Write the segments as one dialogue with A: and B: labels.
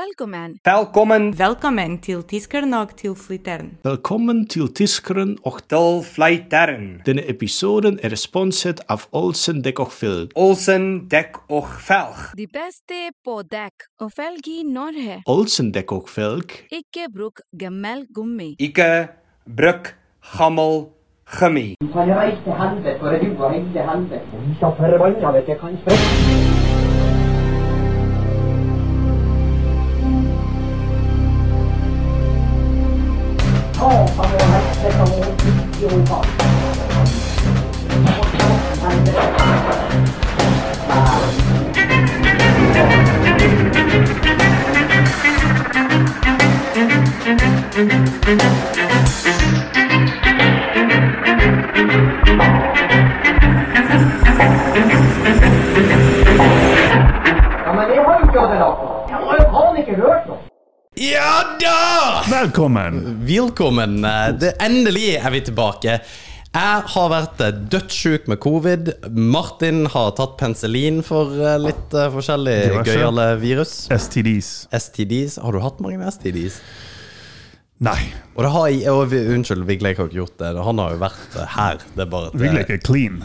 A: Velkommen.
B: Velkommen
C: Velkommen til Tiskernok til Flittern.
D: Velkommen til Tiskeren och
B: til Flytern.
D: denna episoden är sponset av Olsen Däck och Filk.
B: Olsen dek och velg.
A: De beste på dekk og felg i Norge.
D: Olsen Däck och Filk
A: Ikke bruk gammel gummi.
B: Ike, bruk, gammel, gummi.
E: Han reiste helvete, og det var hele helvete. Vi skal forbanna dere, kanskje. Ja, men jeg har jo ikke hatt det noe. Jeg har jo faen ikke hørt noe.
F: Ja da!
G: Velkommen!
F: Velkommen. Eh, Det endelig er vi tilbake. Jeg har vært eh, dødssjuk med covid. Martin har tatt penicillin for eh, litt eh, forskjellig
G: Diverse.
F: gøyale virus.
G: STDs.
F: STDs. Har du hatt mange STDs?
G: Nei.
F: Og det har jeg, og vi, unnskyld, Vigleik har ikke gjort det. Han har jo vært eh, her. Det er bare at eh,
G: Vigleik er clean.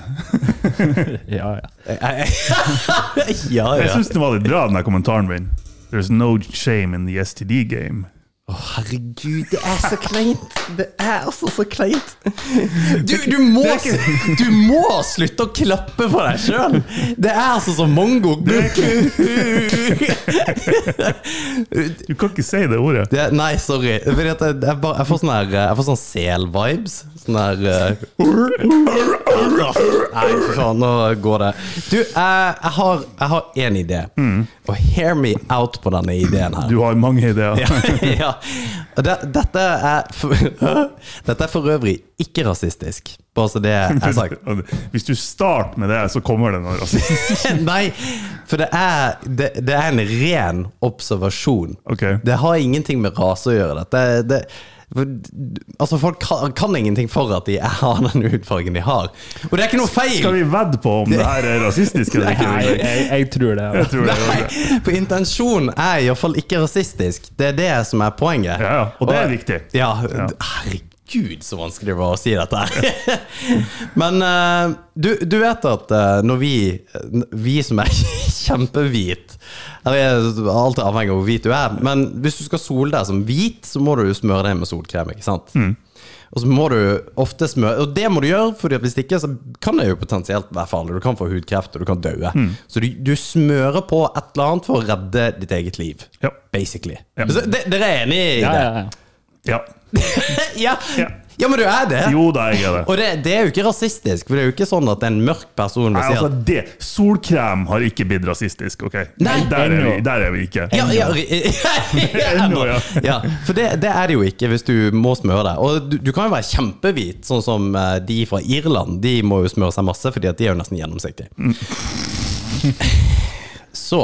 H: Ja, ja.
F: Ja,
G: Jeg
F: ja.
G: syns den var litt bra, den der kommentaren min. There's no shame in the STD game.
F: Å, herregud, det er så kleint! Det er altså så kleint! Du, du, må, du må slutte å klappe for deg sjøl! Det er altså som mongo. Det,
G: Du kan ikke si det ordet.
F: nei, sorry. Fordi at jeg, jeg, bare, jeg får sånne, her, jeg får sånne sel-vibes. Sånne her eh, Nei, fy faen, nå går det. Du, jeg, jeg har jeg har én idé. Og hear me out på denne ideen her.
G: Du har mange ideer.
F: Ja, ja. Og Det, dette, er for, dette er for øvrig ikke rasistisk, bare så det er sagt.
G: Hvis du starter med det, så kommer det noe rasistisk.
F: Nei, for det er, det, det er en ren observasjon.
G: Ok.
F: Det har ingenting med rase å gjøre. Dette, er- det, for, altså Folk kan, kan ingenting for at de har den hudfargen de har. Og det er ikke noe feil!
G: Skal vi vedde på om det her er rasistisk eller ikke?
H: Nei,
G: Vigleik?
H: jeg, jeg tror det.
G: Jeg tror det er det.
F: Nei, for intensjonen er iallfall ikke rasistisk. Det er det som er poenget.
G: Ja, ja, og det er viktig.
F: Ja,
G: Ja.
F: Herregud, så vanskelig det var å si dette her. Men eh, du, du vet at eh, når vi, vi som er kjempehvit Eller jeg er alltid avhengig av hvor hvit du er, men hvis du skal sole deg som hvit, så må du smøre deg med solkrem, ikke sant?
G: Mm.
F: Og så må du ofte smøre Og det må du gjøre, for hvis ikke så kan det jo potensielt være farlig. Du kan få hudkreft, og du kan daue.
G: Mm.
F: Så du, du smører på et eller annet for å redde ditt eget liv.
G: Ja.
F: Basically.
G: Ja.
F: Så de- Dere er enig i
H: Ja,
F: det?
H: ja, ja.
G: Ja.
F: ja.
G: Ja.
F: ja, men du er det.
G: Jo da, jeg er det.
F: Og det, det er jo ikke rasistisk, for det er jo ikke sånn at en mørk person vil
G: Nei,
F: si
G: altså
F: at
G: det, Solkrem har ikke blitt rasistisk, OK?
F: Nei.
G: der, er vi, der er vi ikke.
F: ja, ja, ennå,
G: Ennå, ja.
F: ja. For det, det er det jo ikke hvis du må smøre deg. Og du, du kan jo være kjempehvit, sånn som eh, de fra Irland. De må jo smøre seg masse, fordi at de er jo nesten gjennomsiktige. Så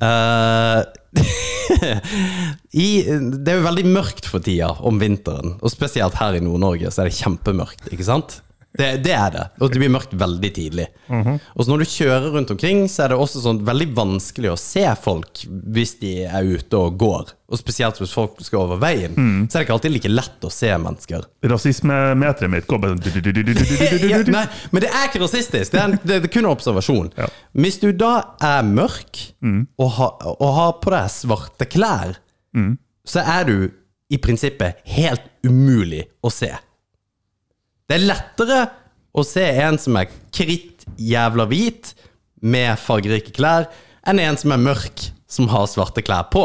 F: eh, i, Det er jo veldig mørkt for tida om vinteren, og spesielt her i Nord-Norge så er det kjempemørkt, ikke sant? Det, det er det, og det blir mørkt veldig tidlig. Og så når du kjører rundt omkring, så er det også sånn veldig vanskelig å se folk hvis de er ute og går. Og spesielt hvis folk skal over veien, så er det ikke alltid like lett å se mennesker.
G: Rasismemeteret mitt går bare sånn
F: Ja, nei, men det er ikke rasistisk. Det er, en, det, det er kun en observasjon.
G: Ja.
F: Hvis du da er mørk og, har, og har på deg svarte klær, så er du i prinsippet helt umulig å se. Det er lettere å se en som er kritt jævla hvit med fargerike klær, enn en som er mørk som har svarte klær på.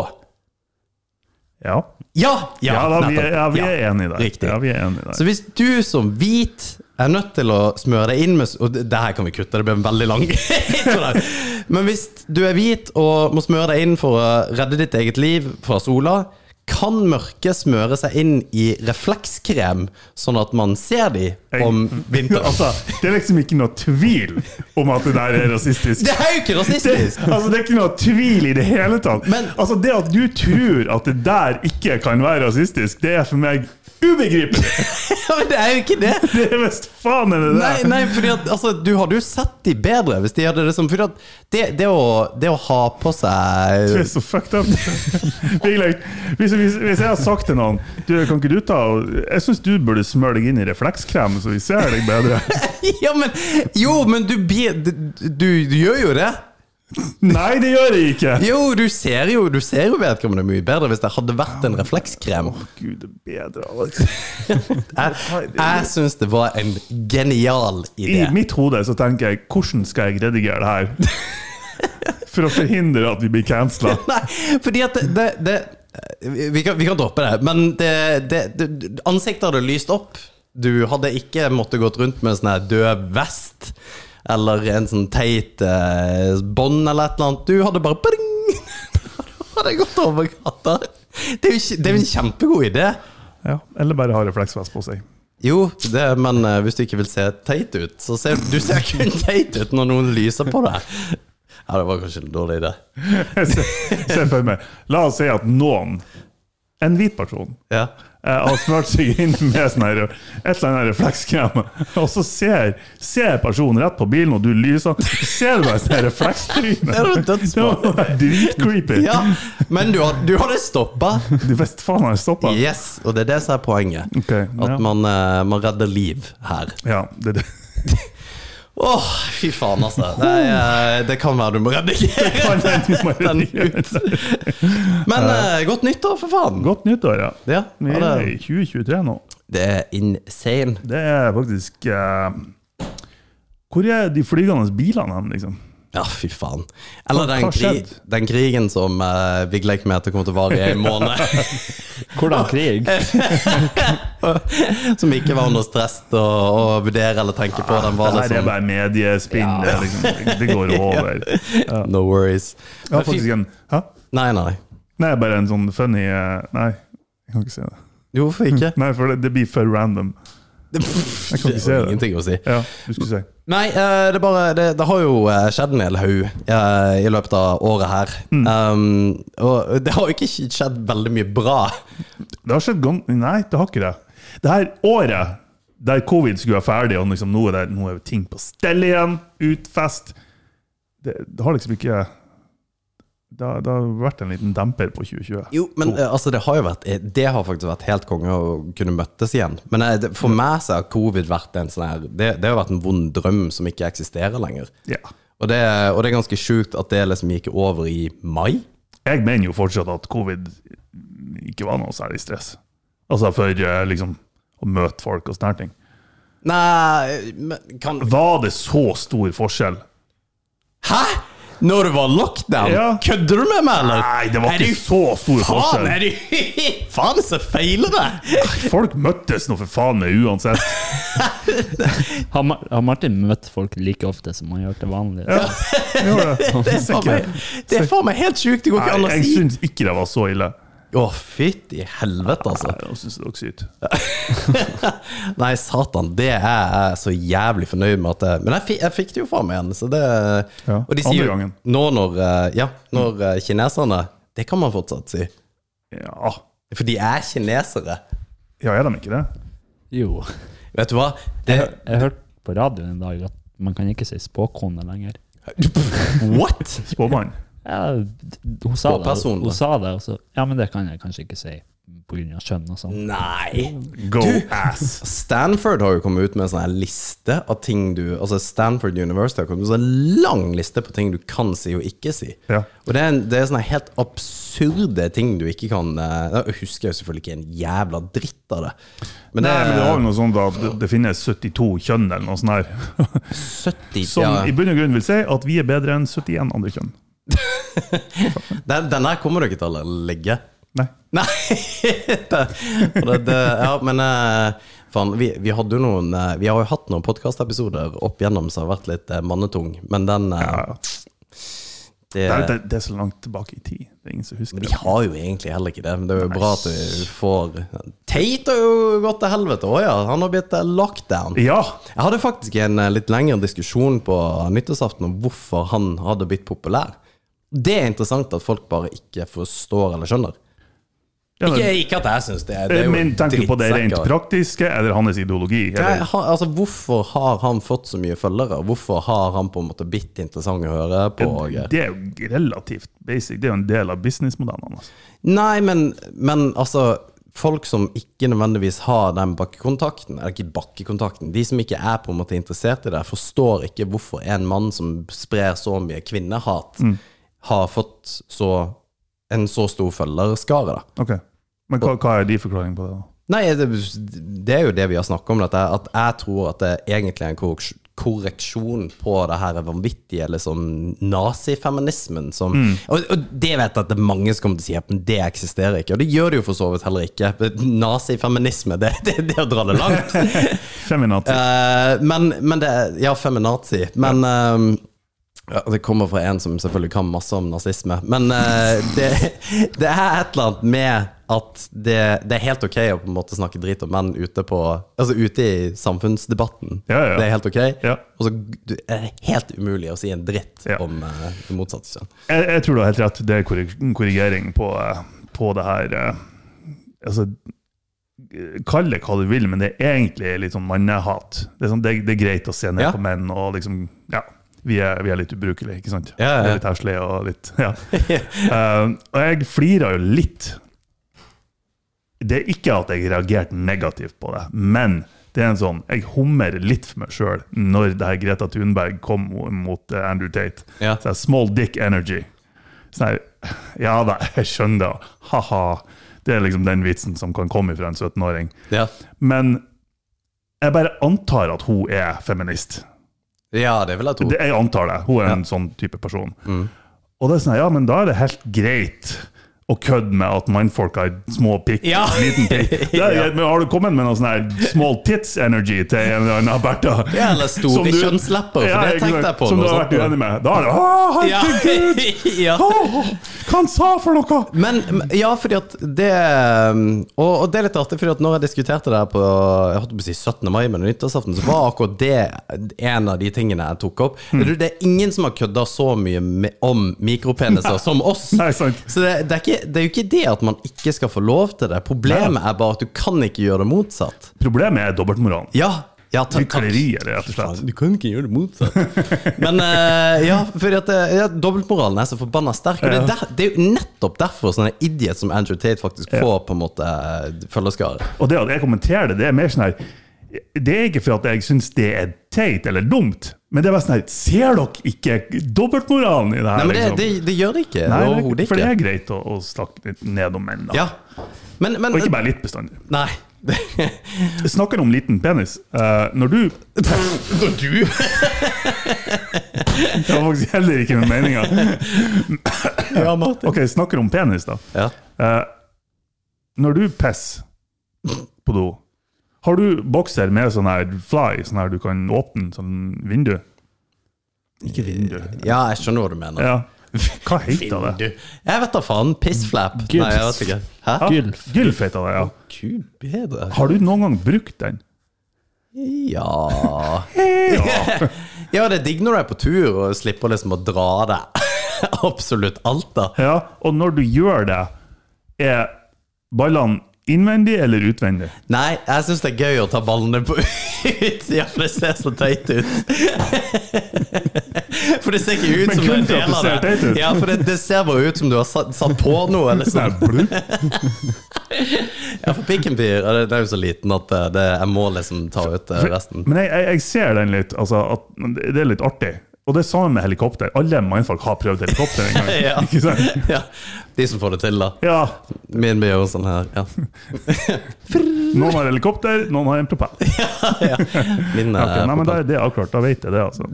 G: Ja.
F: Ja!
G: Ja, da, vi, er-
F: nettopp.
G: ja, vi er
F: Ja,
G: enige der.
F: Riktig.
G: Ja, vi er enige
F: Så
G: der.
F: hvis du som hvit er nødt til å smøre deg inn med Og det det her kan vi kutte, det blir en veldig lang intro der. Men hvis du er hvit og må smøre deg inn for å redde ditt eget liv fra sola, kan mørke smøre seg inn i reflekskrem, sånn at man ser de om vinteren?
G: altså, det er liksom ikke noe tvil om at det der er rasistisk.
F: Det er jo ikke
G: Det,
F: rasistisk!
G: altså, det er ikke noe tvil i det hele tatt.
F: Men-
G: altså, det at du tror at det der ikke kan være rasistisk, det er for meg ubegripelig.
F: Ja, men det er jo ikke det!
G: Det er visst faen er det det!
F: Nei, nei fordi at, altså, du hadde jo sett de bedre hvis de hadde det sånn. Fordi at det, det, å, det å ha på
G: Du
F: seg
G: er så fucked up. Virkelig. Hvis, hvis, hvis jeg har sagt til noen Du, kan ikke du ta og- Jeg syns du burde smøre deg inn i reflekskrem, så vi ser deg bedre.
F: Ja, men Jo, men du blir du, du, du gjør jo det.
G: Nei, det gjør jeg ikke!
F: Jo, du ser jo, du ser jo vedkommende mye bedre hvis det hadde vært en reflekskrem.
G: Gud, det er bedre, Alex.
F: Jeg, jeg syns det var en genial idé.
G: I mitt hode så tenker jeg hvordan skal jeg redigere det her? For å forhindre at vi blir cancela.
F: Nei, fordi at det, det, det vi, kan, vi kan droppe det, men det, det, det, ansiktet hadde lyst opp. Du hadde ikke måttet gått rundt med en sånn her død vest eller en sånn teit eh, bånd eller et eller annet. Du hadde bare bring, hadde gått over gata. Det er jo ikke- det er jo en kjempegod idé.
G: Ja, eller bare ha refleksvest på seg.
F: Jo, det, men eh, hvis du ikke vil se teit ut, så ser du ser kun teit ut når noen lyser på deg. Ja, det var kanskje en dårlig idé.
G: Jeg ser, ser for meg. La oss si at noen, en hvit person,
F: Ja.
G: eh, har smurt seg inn med sånn her, et eller annet reflekskrem, og så ser, ser personen rett på bilen, og du lyser, så ser du bare sånn her reflekstryne.
F: Det er jo dødsbra.
G: Det var dritcreepy.
F: Ja, men du, had- du hadde stoppa.
G: Du vet faen, jeg stoppa.
F: Yes, og det er det som er poenget.
G: Ok, ja.
F: At man, eh, man redder liv her.
G: Ja, det, det.
F: Åh, fy faen, altså. Det, er, eh, det kan være du må redigere
G: Du må
F: den
G: redigere
F: ut. Men eh, godt nyttår, for faen!
G: Godt nyttår, ja.
F: Ja,
G: Vi
F: ha
G: er i
F: det,
G: 2023 nå.
F: det er insane.
G: Det er faktisk eh, Hvor er de flygende bilene hen, liksom?
F: Ja, fy faen. Eller
G: Hva-
F: den,
G: hva
F: kri
G: skjedde?
F: den krigen som uh, Vigleik mente kommer til å vare i en måned,
H: Hvordan krig?
F: som ikke var under stress å å vurdere eller tenke på. Den var
G: Nei, Ah, det sånn- er
F: liksom
G: bare mediespinn. Det, er liksom, det går over. Jeg
F: No worries.
G: har faktisk en Hæ?
F: Nei, nei.
G: Nei, bare en sånn funny eh, Nei, jeg kan ikke si det.
F: Jo, hvorfor ikke?
G: Nei, for det, det blir for random.
F: Jeg
G: kan ikke si det.
F: Ingenting å si.
G: Ja, du skulle si.
F: Nei, eh, det, er bare, det, det har jo eh, skjedd en hel haug eh, i løpet av året her. Um, og det har jo ikke skjedd veldig mye bra.
G: Det har skjedd gang... Nei, det har ikke det. Det her året der covid skulle være ferdig, og liksom nå er, det, nå er ting på stell igjen, utfest det, det har liksom ikke det, har- det har vært en liten demper på 2020.
F: Jo, men eh, altså, det har jo vært Det har faktisk vært helt konge å kunne møttes igjen. Men eh, det, for meg så har covid vært en sånn her det, det har vært en vond drøm som ikke eksisterer lenger.
G: Ja.
F: Og det, og det er ganske sjukt at det liksom gikk over i mai.
G: Jeg mener jo fortsatt at covid ikke var noe særlig stress. Altså for eh, liksom å møte folk og sånne her ting.
F: Nei men kan
G: Var det så stor forskjell?
F: Hæ?! Når det var lockdown?
G: Ja.
F: Kødder du med meg, eller?
G: Nei, det var
F: Er du
G: ikke så stor
F: Faen,
G: forskjell.
F: er du Faen, så feiler det!
G: Folk møttes nå for faen meg uansett.
H: Har, Mar har Martin møtt folk like ofte som han gjør til vanlig?
G: Gjorde det.
F: Det er faen meg, det er faen meg helt sjukt. Det går ikke an
G: Nei,
F: å
G: jeg
F: si.
G: syns ikke det var så ille.
F: Å, fytti helvete, altså.
G: Nei, jeg syns det var sykt.
F: Nei, satan. Det er jeg så jævlig fornøyd med at jeg, Men jeg, fi- jeg fikk det jo faen meg igjen, så det
G: Ja,
F: Og de sier
G: andre gangen.
F: jo nå når eh, Ja, når eh, kineserne Det kan man fortsatt si.
G: Ja,
F: For de er kinesere.
G: ja er de ikke det?
H: Jo.
F: Vet du hva? Det,
H: Jeg, jeg hørte på radioen i dag at man kan ikke si spåkone lenger.
F: what?!
G: Spåmann.
H: Ja, d- hun sa det,
F: Spåperson, da.
H: hun sa det og så, ja, men det kan jeg kanskje ikke si pga. kjønn og sånn.
F: Nei!
G: Go ass.
F: Stanford har jo kommet ut med en sånn her liste av ting du Altså Stanford University har kommet ut med en sånn lang liste på ting du kan si og ikke si.
G: Ja.
F: Og det er, en, det er sånne helt absurde ting du ikke kan eh, Jeg husker jo selvfølgelig ikke en jævla dritt av det. Men det
G: Nei, men det
F: er
G: var jo noe sånt at det- det finnes 72 kjønn eller noe sånt her.
F: 70
G: Som
F: ja.
G: i bunn og grunn vil si at vi er bedre enn 71 andre kjønn.
F: den, den der kommer du ikke til å legge.
G: Nei.
F: Nei! det, og det, det, ja, men eh, faen, vi, vi hadde jo noen eh, Vi har jo hatt noen podkastepisoder opp gjennom som har vært litt eh, mannetung, men den eh,
G: Ja.
F: det,
G: Det er, det, det er så langt tilbake i tid. Det er ingen som husker
F: Vi
G: det.
F: har jo egentlig heller ikke det, men det er jo bra at du får Tate har jo gått til helvete òg, ja. Han har blitt eh, lockdown.
G: Ja!
F: Jeg hadde faktisk en eh, litt lengre diskusjon på nyttårsaften om hvorfor han hadde blitt populær. Det er interessant at folk bare ikke forstår eller skjønner.
G: Ja, men-
F: Ikke, ikke at jeg syns det. det er jo
G: Men tenker du på det rent
F: drittsekker.
G: praktiske, eller hans ideologi?
F: Nei,
G: Eller?
F: han, altså, hvorfor har han fått så mye følgere? Hvorfor har han på en måte blitt interessant å høre på? og-
G: Det er jo relativt basic. Det er jo en del av businessmodellene. Altså.
F: Nei, men, men altså Folk som ikke nødvendigvis har den bakkekontakten, eller ikke bakkekontakten, de som ikke er på en måte interessert i det, forstår ikke hvorfor en mann som sprer så mye kvinnehat, har fått så, en så stor følgerskare. da.
G: Ok. Men hva, hva er de forklaringene på det? da?
F: Nei, det, det er jo det vi har snakket om, dette, at jeg tror at det egentlig er en korreks- korreksjon på det her vanvittige liksom, nazifeminismen som og, og det vet jeg at det er mange som kommer til å si at men det eksisterer ikke, og det gjør det jo for så vidt heller ikke. Nazifeminisme, det, det, det er å dra det langt.
G: Feminativ.
F: Eh, men, men det Ja, feminazi. Men eh, ja, Det kommer fra en som selvfølgelig kan masse om nazisme. Men eh, det, det er et eller annet med at det, det er helt ok å på en måte snakke drit om menn ute, på, altså ute i samfunnsdebatten.
G: Ja, ja.
F: Det er helt ok.
G: Ja.
F: Og så er det helt umulig å si en dritt
G: Ja.
F: om eh, det motsatte kjønn.
G: Jeg, jeg tror du har helt rett. Det er korrek- korrigering på, eh, på det her eh, Altså, eh, kall det hva du vil, men det er egentlig litt sånn mannehat. Det er, sånn, det, det er greit å se ned
F: Ja.
G: på menn, og liksom Ja. Vi er, vi er litt ubrukelige, ikke sant?
F: Ja, ja, ja.
G: Vi er Litt heslige og litt Ja. Eh, og jeg flirer jo litt. Det er ikke at jeg reagerte negativt på det, men det er en sånn Jeg hummer litt for meg sjøl når det her Greta Thunberg kom mot eh, Andrew Tate.
F: Ja.
G: Så det er small dick energy. Sånn her, ja da, jeg skjønner det. Ha-ha. Det er liksom den vitsen som kan komme fra en 17-åring.
F: Ja.
G: Men jeg bare antar at hun er feminist.
F: ja, det vil jeg tro.
G: Det, jeg antar det. Hun er en sånn type person.
F: Mm.
G: Og det er sånn, ja, men da er det helt greit å kødde med at mannfolk har små pikk,
F: Ja.
G: liten pikk. Det er, greit, Men har du kommet med noe sånn her small tits energy til en eller annen Bertha?
F: Ja, eller store
G: Som du-
F: kjønnslepper, for det
G: ikke
F: tenkte
G: sant,
F: jeg på,
G: Som du
F: noe
G: har
F: sånt.
G: vært uenig med. Da er det Å,
F: Ja.
G: herregud!
F: ja.
G: Å, hva han sa for noe?!
F: Men men- ja, fordi at det um, Og, og det er litt artig, fordi at når jeg diskuterte det her på jeg holdt på å si 17. mai, men nyttårsaften, så var akkurat det en av de tingene jeg tok opp. Er du, Det er ingen som har kødda så mye med, om mikropeniser som oss.
G: Nei, sant.
F: Så det, det, er ikke, det er jo ikke det at man ikke skal få lov til det. Problemet er bare at du kan ikke gjøre det motsatt.
G: Problemet er dobbeltmoralen.
F: Ja, ja ta- takk.
G: Hykleriet, rett og slett.
F: Faen, Du kan ikke gjøre det motsatt. Men eh, ja, fordi at eh, ja, dobbeltmoralen er så forbanna sterk. Og det, er der, det er jo nettopp derfor sånne idiot som Andrew Tate faktisk får på en måte eh, følgeskare.
G: Og det at jeg kommenterer det, det er mer sånn her Det er ikke for at jeg syns det er teit eller dumt, men det er bare sånn her Ser dere ikke dobbeltmoralen i det her?
F: Nei, men det,
G: liksom?
F: det, det gjør det ikke.
G: Nei, det er ikke-
F: Overhodet
G: for det
F: ikke.
G: er greit å, å snakke litt ned om menn. da.
F: Ja. Men, men
G: Og ikke bare litt bestandig.
F: Nei.
G: Jeg snakker om liten penis. Eh, når du Når du Det var faktisk heller ikke med meninga.
F: ja, Martin.
G: Ok, snakker om penis, da.
F: Ja.
G: Eh, når du pisser på do, har du bokser med sånn her fly, sånn her du kan åpne sånn vindu? Ikke vindu.
F: ja, jeg skjønner hva du mener.
G: Ja. Hva heter det?
F: Jeg vet da faen. Pissflap. Nei, jeg vet ikke. Hæ?
G: Ja,
H: Gylf.
G: Gylf heter det, ja.
F: Gud bedre.
G: Har du noen gang brukt den?
F: Ja Ja, det er digg når du er på tur og slipper liksom å dra deg. Absolutt alt, da.
G: Ja, og når du gjør det, er ballene innvendig eller utvendig?
F: Nei, jeg syns det er gøy å ta ballene på utsida, for det ser så teit ut. For det ser ikke ut
G: Men
F: som det er
G: kun
F: en del
G: for at det
F: av
G: ser teit ut.
F: Ja, for det, det ser bare ut som du har satt, satt på noe. Eller
G: Sånn
F: sånn.
G: her, blup.
F: Ja, for pikken blir ja, det- Den er jo så liten at eh, det, jeg må liksom ta ut eh, resten.
G: Men jeg, jeg, jeg ser den litt, altså, at det er litt artig. Og det er samme med helikopter. Alle mannfolk har prøvd helikopter en gang.
F: Ja.
G: Ikke sant?
F: Ja, De som får det til, da.
G: Ja,
F: Min blir jo sånn her. Ja.
G: noen har helikopter, noen har en propell. Ok,
F: ja. Min, eh,
G: nei, men da er det avklart, da vet jeg det, altså.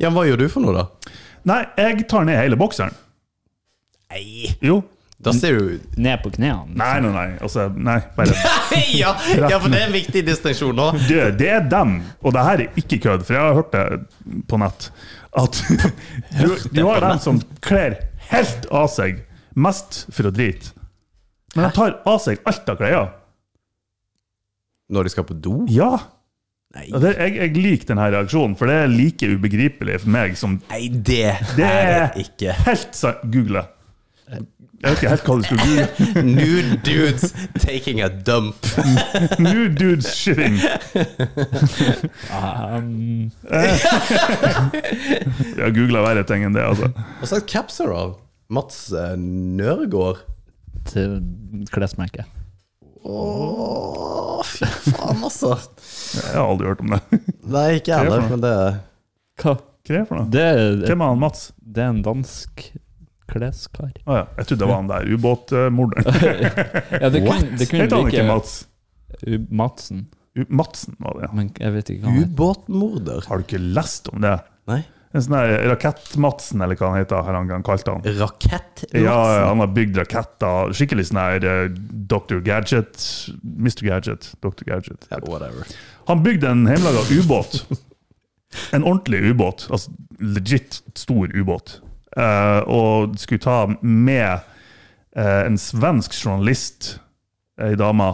F: ja, men hva gjør du for noe, da?
G: Nei, jeg tar ned hele bokseren.
F: Nei.
G: Jo.
F: Da ser du
H: Ned på knærne.
G: Nei, nei, nei. Altså, nei, bare
F: ja, ja, for det er en viktig distinksjon nå.
G: Du, det er dem, og det her er ikke kødd, for jeg har hørt det på nett, at du, du har dem som kler helt av seg mest for å drite. Men de tar av seg alt av klær.
F: Når de skal på do?
G: Ja.
F: Nei,
G: Og det, jeg, jeg liker denne reaksjonen, for det er like ubegripelig for meg som
F: nei det,
G: Det
F: er
G: er
F: det ikke.
G: helt sant. Google. Jeg vet ikke helt hva du skulle google.
F: Nude dudes taking a dump.
G: New dudes shitting.
H: Um,
G: Jeg har googla verre ting enn det, altså.
F: Hva slags caps er det av? Mats eh, Nørgaard?
H: til klesmerket.
F: Åh, fy faen, altså.
G: Jeg har aldri hørt om det.
F: Nei, ikke jeg heller, men det
H: Hva?
G: Hva er det for noe?
H: Det er,
G: Hvem er han Mats?
H: det er en dansk kleskar.
G: Å ja. Jeg trodde det var han der ubåtmorderen.
H: Ja, det kunne, det kunne
G: Heter han ikke
H: like
G: Mats?
H: U- Madsen,
G: U Madsen var det, ja.
H: men jeg vet ikke hva han heter.
F: Ubåtmorder?
G: Har du ikke lest om det?
F: Nei.
G: En sånn der Rakett-Madsen, eller hva han heter, har han kalt han.
F: Rakett-Madsen?
G: Ja, han har bygd raketter. Skikkelig sånn her eh, Dr. Gadget. Mr. Gadget. Dr. Gadget.
F: Ja, whatever.
G: Han bygde en hjemmelaga ubåt. En ordentlig ubåt. Altså legit stor ubåt. Eh, og skulle ta med eh, en svensk journalist, eh, ei dame,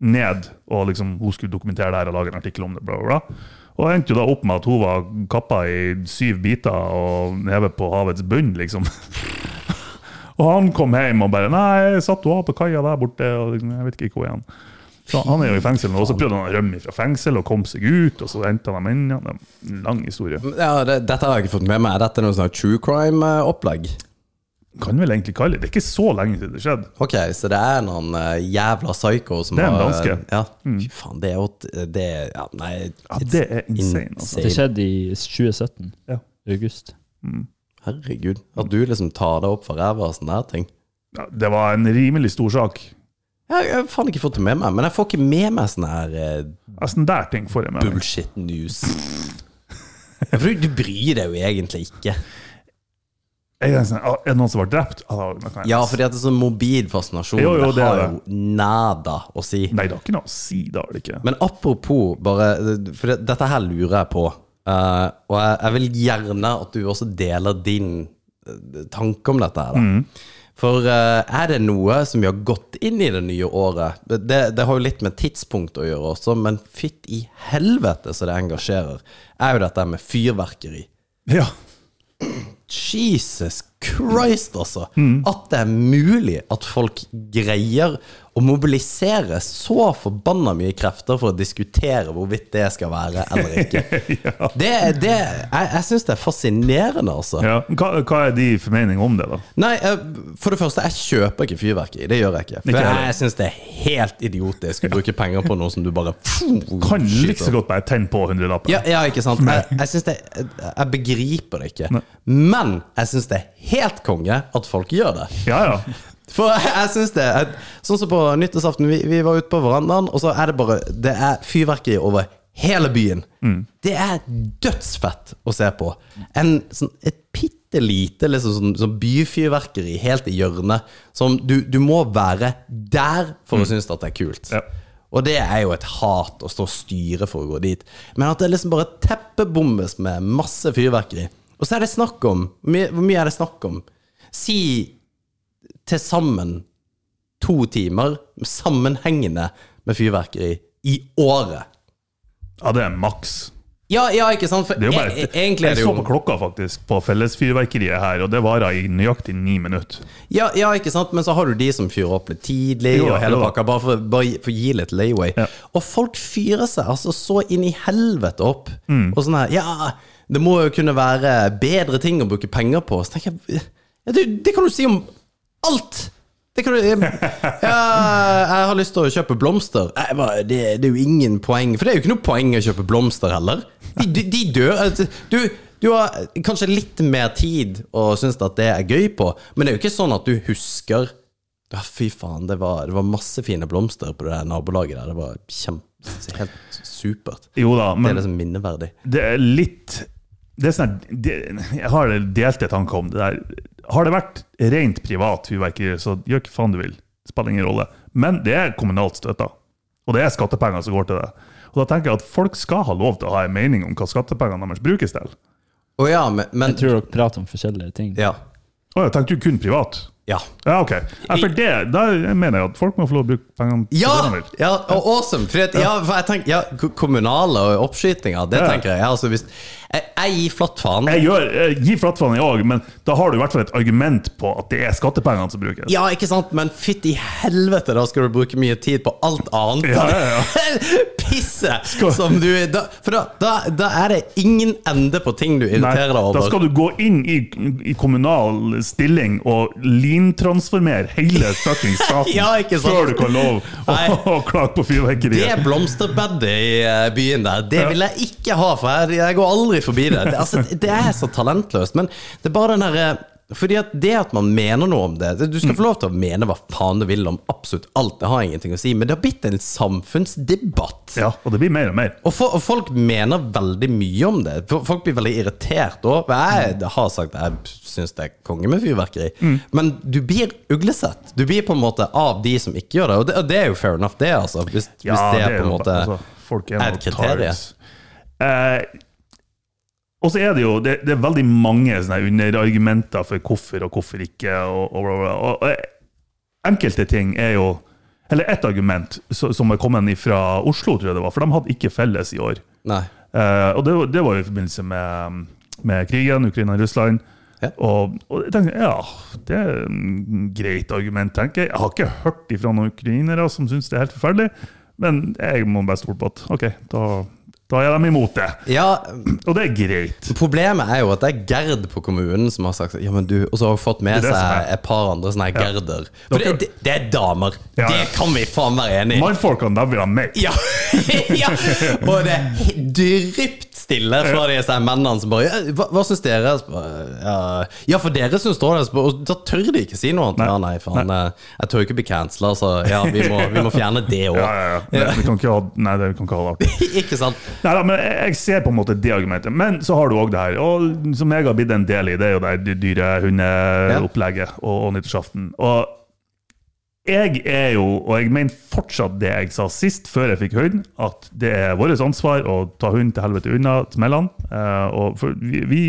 G: ned. Og liksom, hun skulle dokumentere det her og lage en artikkel om det. Bla, bla, bla. Og endte jo da opp med at hun var kappa i syv biter og hevet på havets bunn, liksom. og han kom hjem og bare Nei, jeg satt hun av på kaia der borte, og liksom, jeg vet ikke hvor er han så han er jo i fengsel nå, og så prøvde han å rømme fra fengsel og kom seg ut, og så hentet han dem inn. Ja, det er en lang historie.
F: Ja, det, dette har jeg ikke fått med meg. Er dette noe sånn true crime-opplegg?
G: Kan vel egentlig kalle det. Det er ikke så lenge siden det skjedde.
F: Ok, så det er noen eh, jævla psycho som
G: Det er en
F: har
G: danske. Mm.
F: Ja. Fy faen, det er jo Det er- ja, Nei.
G: Ja,
F: it's
G: det er insane, altså.
H: Det skjedde i 2017.
G: Ja.
H: August.
F: Herregud. At du liksom tar det opp for ræva og sånne her ting.
G: Ja, det var en rimelig stor sak.
F: Jeg jeg har faen ikke fått det med meg, men jeg får ikke med meg sånn her eh,
G: Ja, sånn der ting får jeg med meg.
F: bullshit news. Ja, For du, du bryr deg jo egentlig ikke.
G: Jeg er sånn, «Ah, Er det noen som var drept? Ah, da, da kan jeg-
F: Ja, fordi at det er sånn mobil fascinasjon.
G: Jo, jo, det
F: det har
G: er
F: jo nada å si.
G: Nei, det har ikke noe å si, det har det ikke.
F: Men apropos bare For det, dette her lurer jeg på. eh, og jeg, jeg vil gjerne at du også deler din eh, tanke om dette her. Da. For eh, er det noe som vi har gått inn i det nye året det, det har jo litt med tidspunkt å gjøre også, men fytt i helvete så det engasjerer, er jo dette med fyrverkeri.
G: Ja,
F: Jesus Christ, altså!
G: Mm.
F: At det er mulig at folk greier å mobilisere så forbanna mye krefter for å diskutere hvorvidt det skal være eller ikke. Det, det, jeg jeg syns det er fascinerende, altså.
G: ja. Hva, hva er de formening om det, da?
F: Nei, eh, for det første, jeg kjøper ikke fyrverkeri. Det gjør jeg ikke. For
G: Ikke heller.
F: jeg, jeg syns det er helt idiotisk å bruke penger på noe som du bare
G: Kan like
F: skyter.
G: så godt bare tenne på hundrelappen.
F: altså. Ja, ja, ikke sant. Jeg, jeg, synes det, jeg, jeg begriper det ikke. Men jeg syns det er helt konge at folk gjør det.
G: Ja, ja.
F: For jeg, jeg synes det at- Sånn som på nyttårsaften, vi, vi var ute på verandaen, og så er det bare Det er fyrverkeri over hele byen. Det er dødsfett å se på. En, sånn, et bitte lite liksom, sånn, sånn byfyrverkeri helt i hjørnet. Som du, du må være der for å synes at det er kult.
G: Ja.
F: Og det er jo et hat å stå og styre for å gå dit. Men at det liksom bare teppebombes med masse fyrverkeri. Og så er det snakk om Hvor mye, hvor mye er det snakk om? Si til sammen to timer sammenhengende med fyrverkeri i året.
G: ja, det er maks.
F: Ja, ja, ikke sant? For
G: Det er jo bare,
F: e- e- egentlig er det
G: Jeg så på
F: jo
G: klokka faktisk på fellesfyrverkeriet her, og det varer i nøyaktig ni minutter.
F: ja, ja, ikke sant? Men så har du de som fyrer opp litt tidlig,
G: Jo da,
F: og hele
G: jo da.
F: pakka, bare for, bare for å gi litt layaway. Og folk fyrer seg altså så inn i helvete opp. Og sånn her Ja, det må jo kunne være bedre ting å bruke penger på. Så tenker jeg ja, det, det kan du si om alt! Det kan du Ja, jeg har lyst til å kjøpe blomster. Nei, bare, det, det er jo ingen poeng. For det er jo ikke noe poeng å kjøpe blomster heller. De, de, de dør. Altså, Du, du har kanskje litt mer tid og syns at det er gøy på, men det er jo ikke sånn at du husker ja, fy faen, det var, det var masse fine blomster på det der nabolaget der. Det var kjempe, helt supert.
G: Jo da,
F: Det
G: men
F: er liksom minneverdig.
G: det er litt det er sånn her, det, Jeg har delte tanker om det der. Har det vært rent privat fyrverkeri, så gjør ikke faen du vil. Spiller ingen rolle. Men det er kommunalt støtta. Og det er skattepenger som går til det. Og da tenker jeg at folk skal ha lov til å ha en mening om hva skattepengene deres brukes til.
F: Å ja, men, men
H: Jeg tror dere prater om forskjellige ting.
F: ja,
G: Å ja, tenkte du kun privat?
F: ja.
G: Ja, ok. Ja, for det, da mener jeg at folk må få lov til å bruke pengene til
F: Ja!
G: det de vil.
F: ja og awesome! Fordi at, ja, for jeg tenker, ja, ko- kommunale og oppskytinger, det
G: Ja.
F: tenker jeg. Ja, altså hvis, Jeg, jeg gir flatt faen.
G: Jeg gjør, eh, jeg gir flattfaen jeg òg, men da har du i hvert fall et argument på at det er skattepengene som brukes.
F: Ja, ikke sant, men fytti helvete, da skal du bruke mye tid på alt annet.
G: Ja, ja,
F: Pisse! Som du da, For da, da, da er det ingen ende på ting du
G: Nei,
F: irriterer deg
G: da
F: over.
G: skal du gå inn i, i kommunal stilling og lintransformere hele fucking staten
F: Ja, ikke sant?
G: før du kan lov å,
F: Nei.
G: å klage på
F: Det
G: fyrverkeriet.
F: blomsterbedet i eh, byen der, det vil jeg ikke ha, for jeg, jeg går aldri forbi det. Det, altså, det er så talentløst, men det er bare den herre fordi at det at man mener noe om det Du skal få lov til å mene hva faen du vil om absolutt alt, det har ingenting å si, men det har blitt en samfunnsdebatt.
G: Ja, og det blir mer og mer.
F: Og, fo- og folk mener veldig mye om det. Fo- Folk blir veldig irritert òg. Jeg har sagt jeg syns det er konge med fyrverkeri,
G: Mm.
F: men du blir uglesett. Du blir på en måte av de som ikke gjør det, og det, og det er jo fair enough, det, altså. Hvis, hvis det, er på en
G: jo
F: måte
G: bare- altså, folk
F: er
G: noen
F: et kriterium.
G: tards. Eh, og så er det jo det, det er veldig mange sånne her underargumenter for hvorfor og hvorfor ikke. Og, og, bla, bla. og, og eh, enkelte ting er jo Eller ett argument så- som er kommet fra Oslo, tror jeg det var, for de hadde ikke felles i år.
F: Nei.
G: Eh, og det, var- det var jo i forbindelse med, med krigen, Ukraina og Russland.
F: Ja.
G: Og, og jeg tenkte, ja, det er et greit argument, tenker jeg. Jeg har ikke hørt ifra noen ukrainere som syns det er helt forferdelig, men jeg må bare stole på at ok, da, da er de imot det.
F: Ja,
G: Og det er greit.
F: problemet er jo at det er Gerd på kommunen som har sagt ja, men du, Og så har hun fått med
G: Det er det som
F: seg
G: er.
F: et par andre sånne her Gerder. For det,
G: Dere-
F: det, det er damer.
G: Ja, ja.
F: Det kan vi faen være enig i.
G: Mannfolkene, de vil ha meg.
F: Ja. ja! Og det er he- drypt stille fra disse her mennene som bare «Ja, Hva, hva syns dere? Så bare, Ja, ja, for dere syns da det. så bare- Og da tør de ikke si noe annet.
G: Nei.
F: Ja, nei, faen. eh, Jeg tør jo ikke bli cancela, så ja, vi må, vi må fjerne det òg.
G: Ja, ja, ja. Eh, Men Vi kan ikke ha, nei, det vi kan ikke ha det artig.
F: ikke sant?
G: Nei da, men jeg jeg ser på en måte det argumentet. Men så har du òg det her, og som jeg har blitt en del i, det er jo det her dy- dyre hundeopplegget og, og nyttårsaften. Og jeg er jo, og jeg mener fortsatt det jeg sa sist, før jeg fikk hund, at det er vårt ansvar å ta hund til helvete unna smellene. eh, og for vi, vi,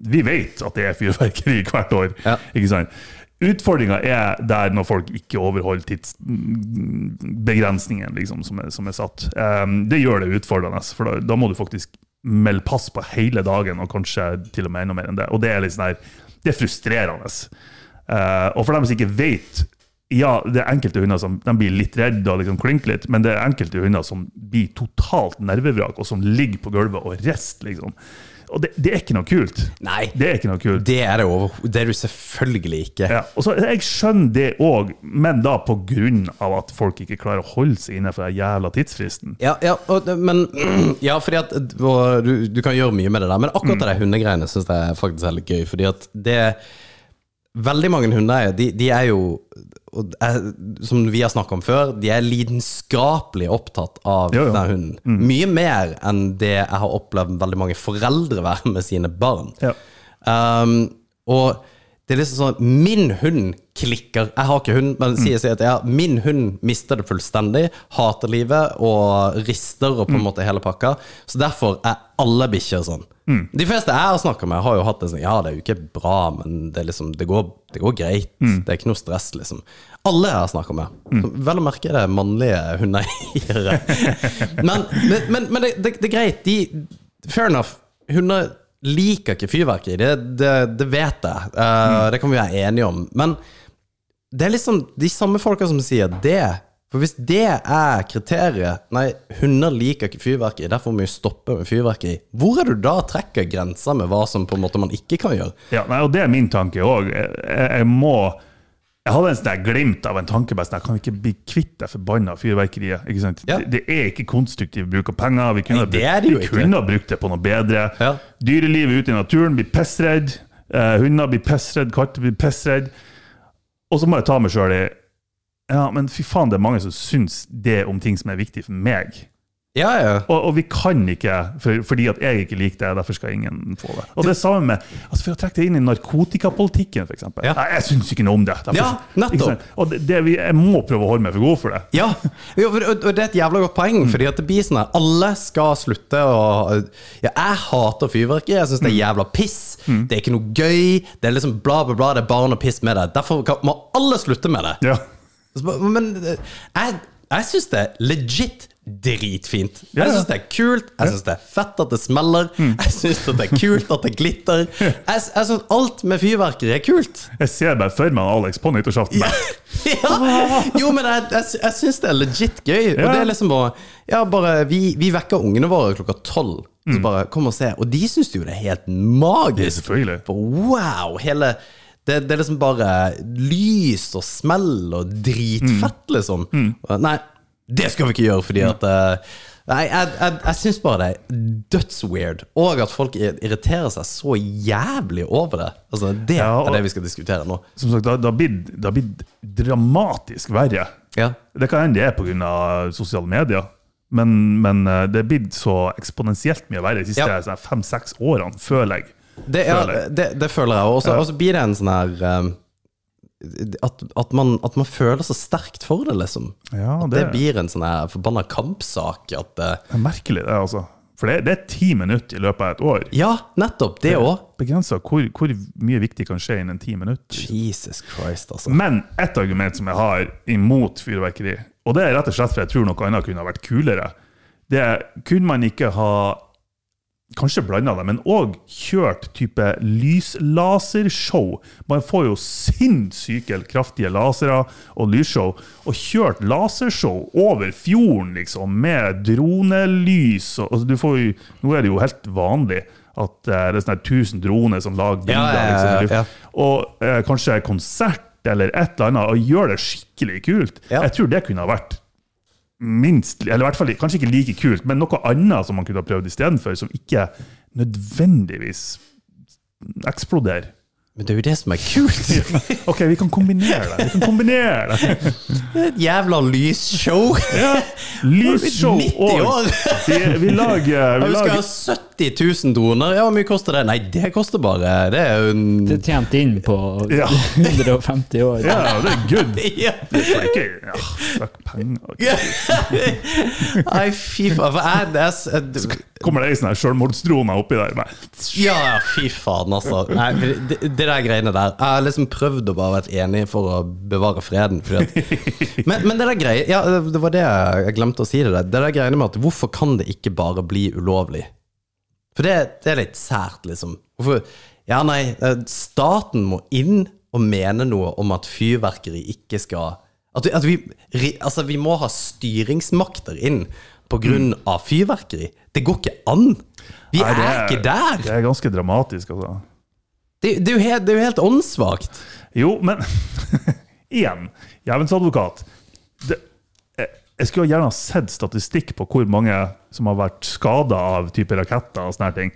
G: vi vet at det er fyrverkeri hvert år.
F: Ja.
G: ikke sant? Utfordringa er der når folk ikke overholder tidsbegrensningen liksom, som, er, som er satt. Eh, det gjør det utfordrende, for da, da må du faktisk melde pass på hele dagen, og kanskje til og med enda mer enn det. Og det er litt sånn her, det er frustrerende. Eh, og for dem som ikke vet Ja, det er enkelte hunder som de blir litt redde og liksom klynker litt, men det er enkelte hunder som blir totalt nervevrak, og som ligger på gulvet og rister, liksom. Og det, det er ikke noe kult.
F: Nei.
G: Det er ikke noe kult.
F: Det er det over, det er du selvfølgelig ikke.
G: Ja, og så, jeg skjønner det òg, men da på grunn av at folk ikke klarer å holde seg innenfor den jævla tidsfristen.
F: Ja, ja, og, men, ja fordi at og du, du kan gjøre mye med det der, men akkurat det der hundegreiene syns jeg er faktisk er litt gøy. Fordi at det Veldig mange hundeeiere, de, de er jo og er, Som vi har snakket om før, de er lidenskapelig opptatt av
G: Jo, jo.
F: den hunden. Mye mer enn det jeg har opplevd veldig mange foreldre være med sine barn.
G: Ja.
F: Um, og det er liksom sånn Min hund klikker. Jeg har ikke hund, men sier sier at ja, min hund mister det fullstendig. Hater livet og rister og på en måte hele pakka. Så derfor er alle bikkjer sånn. De fleste jeg har snakka med, har jo hatt det sånn Ja, det er jo ikke bra, men det, er liksom, det, går, det går greit. Det er ikke noe stress, liksom. Alle jeg har snakka med. Vel å merke er det mannlige hundeeiere. men men, men, men det, det, det er greit. De, fair enough. Hunder liker ikke fyrverkeri, det, det, det vet jeg. Eh, Det kan vi være enige om. Men det er liksom de samme folka som sier det. For hvis det er kriteriet Nei, hunder liker ikke fyrverkeri, derfor må vi stoppe med fyrverkeri. Hvor er du da trekker grensa med hva som på en måte man ikke kan gjøre?
G: Ja, nei, og det er min tanke òg. Jeg, jeg, jeg må Jeg hadde en sånn der glimt av en tanke. bare sånn, Jeg kan ikke bli kvitt det forbanna fyrverkeriet. ikke sant?
F: Ja.
G: Det, det er ikke konstruktiv bruk av penger. Vi kunne,
F: Nei, det er det jo
G: vi
F: ikke.
G: kunne ha brukt det på noe bedre.
F: Ja.
G: Dyrelivet ute i naturen blir pissredd. Eh, hunder blir pissredd, katter blir pissredd. Og så må jeg ta meg sjøl i Ja, men fy faen, det er mange som syns det om ting som er viktig for meg.
F: Ja, ja.
G: Og, og vi kan ikke, for, fordi at jeg ikke liker det, derfor skal ingen få det. Og det samme med, altså For å trekke det inn i narkotikapolitikken, f.eks.
F: Ja.
G: Nei, jeg syns ikke noe om det. derfor-
F: Ja, nettopp.
G: Ikke sant? Og det, det, vi- jeg må prøve å holde meg for god for det.
F: Ja, jo, for- og og det er et jævla godt poeng.
G: Mm.
F: Fordi at det blir sånn her Alle skal slutte å Ja, jeg hater fyrverkeri. Jeg syns det er
G: Mm.
F: jævla piss. Det er ikke noe gøy. Det er liksom bla, bla, bla. Det er bare noe piss med det. Derfor kan, må alle slutte med det.
G: Ja.
F: Så bare, Men eh, jeg, jeg syns det er legit dritfint. Jeg
G: Ja, ja. Mm.
F: syns det er kult, jeg syns det er fett at det smeller, jeg syns det er kult at det glitter. Jeg, jeg syns alt med fyrverkeri er kult.
G: Jeg ser bare for meg Alex på nyttårsaften. bare,
F: Ja. Jo, men jeg, jeg, sy- jeg syns det er legit gøy. Og
G: Ja.
F: det er liksom bare, ja, bare vi, vi vekker ungene våre klokka tolv. Så
G: Mm.
F: bare kom og se. Og de syns jo det er helt magisk.
G: Selvfølgelig.
F: For Wow! Hele det, det er liksom bare lys og smell og dritfett,
G: Mm.
F: liksom. Og Nei, det skal vi ikke gjøre, fordi at eh, Nei, jeg, jeg, jeg syns bare det er dødsweird. Og at folk ir- irriterer seg så jævlig over det. Altså, Det
G: Ja, og-
F: er det vi skal diskutere nå.
G: Som sagt, det har- det har blitt- det har blitt dramatisk verre.
F: Ja.
G: Det kan hende det er pga. sosiale medier, men, men eh, det er blitt så eksponentielt mye verre de siste
F: Ja.
G: sånn fem-seks årene, føler jeg.
F: Det, ja,
G: Føler jeg.
F: det, det føler jeg. Og så- Og så blir det en sånn her um, at, at, man, at man føler så sterkt for det, liksom.
G: Ja,
F: at det,
G: det-
F: blir en sånn her forbanna kampsak. At eh, det,
G: Det er merkelig, det, altså. For det, det er ti minutter i løpet av et år.
F: ja, nettopp! Det òg.
G: Begrensa hvor, hvor mye viktig kan skje innen ti minutter.
F: Jesus Christ, altså.
G: Men ett argument som jeg har imot fyrverkeri, og det er rett og slett for jeg tror noe annet kunne ha vært kulere, det er kunne man ikke ha Kanskje blanda det, men òg kjørt type lyslasershow. Man får jo sinnssyke kraftige lasere og lysshow. Og kjørt lasershow over fjorden, liksom, med dronelys og altså, du får jo, Nå er det jo helt vanlig at eh, det er sånne her 1000 droner som lager bilder.
F: Ja, ja, ja, ja,
G: liksom, i luften
F: ja.
G: og eh, kanskje en konsert eller et eller annet, og gjør det skikkelig kult.
F: Ja.
G: Jeg tror det kunne ha vært minst, eller i hvert fall kanskje ikke like kult, men noe annet som man kunne ha prøvd istedenfor, som ikke nødvendigvis eksploderer.
F: Men det er jo det som er kult!
G: OK, vi kan kombinere det. Vi kan kombinere det.
F: Et jævla lysshow!
G: Ja. Lysshow
F: 90 år.
G: og Vi, vi lager, vi
F: Vi skal ha
G: lager
F: 70 000 droner. Ja, hvor mye koster det? Nei, det koster bare Det er jo en
H: Det er tjent inn på
G: Ja.
H: 150 år.
G: Ja, det er good.
F: ja.
G: Det er ikke ja, fuck penger.
F: Nei, fy faen. For jeg, det er, s-
G: Kommer det ei sånn her selvmordsdrone oppi der? Bare,
F: Ja, fy faen, altså. Nei, for det, det der greiene der Jeg har liksom prøvd å bare være enig for å bevare freden. Fordi at, men, men det der greie Ja, det var det jeg glemte å si det der. Det der greiene med at hvorfor kan det ikke bare bli ulovlig? For det, det er litt sært, liksom. Hvorfor Ja, nei, eh, staten må inn og mene noe om at fyrverkeri ikke skal At, vi- at vi ri- Altså, vi må ha styringsmakter inn på grunn av fyrverkeri. Det går ikke an! Vi
G: Mm. nei, det
F: er ikke der!
G: Det er ganske dramatisk, altså.
F: Det, det, er, jo helt, det er jo helt åndssvakt.
G: Jo, men igjen, jævens advokat. Det, jeg, jeg skulle gjerne ha sett statistikk på hvor mange som har vært skada av type raketter og sånne her ting.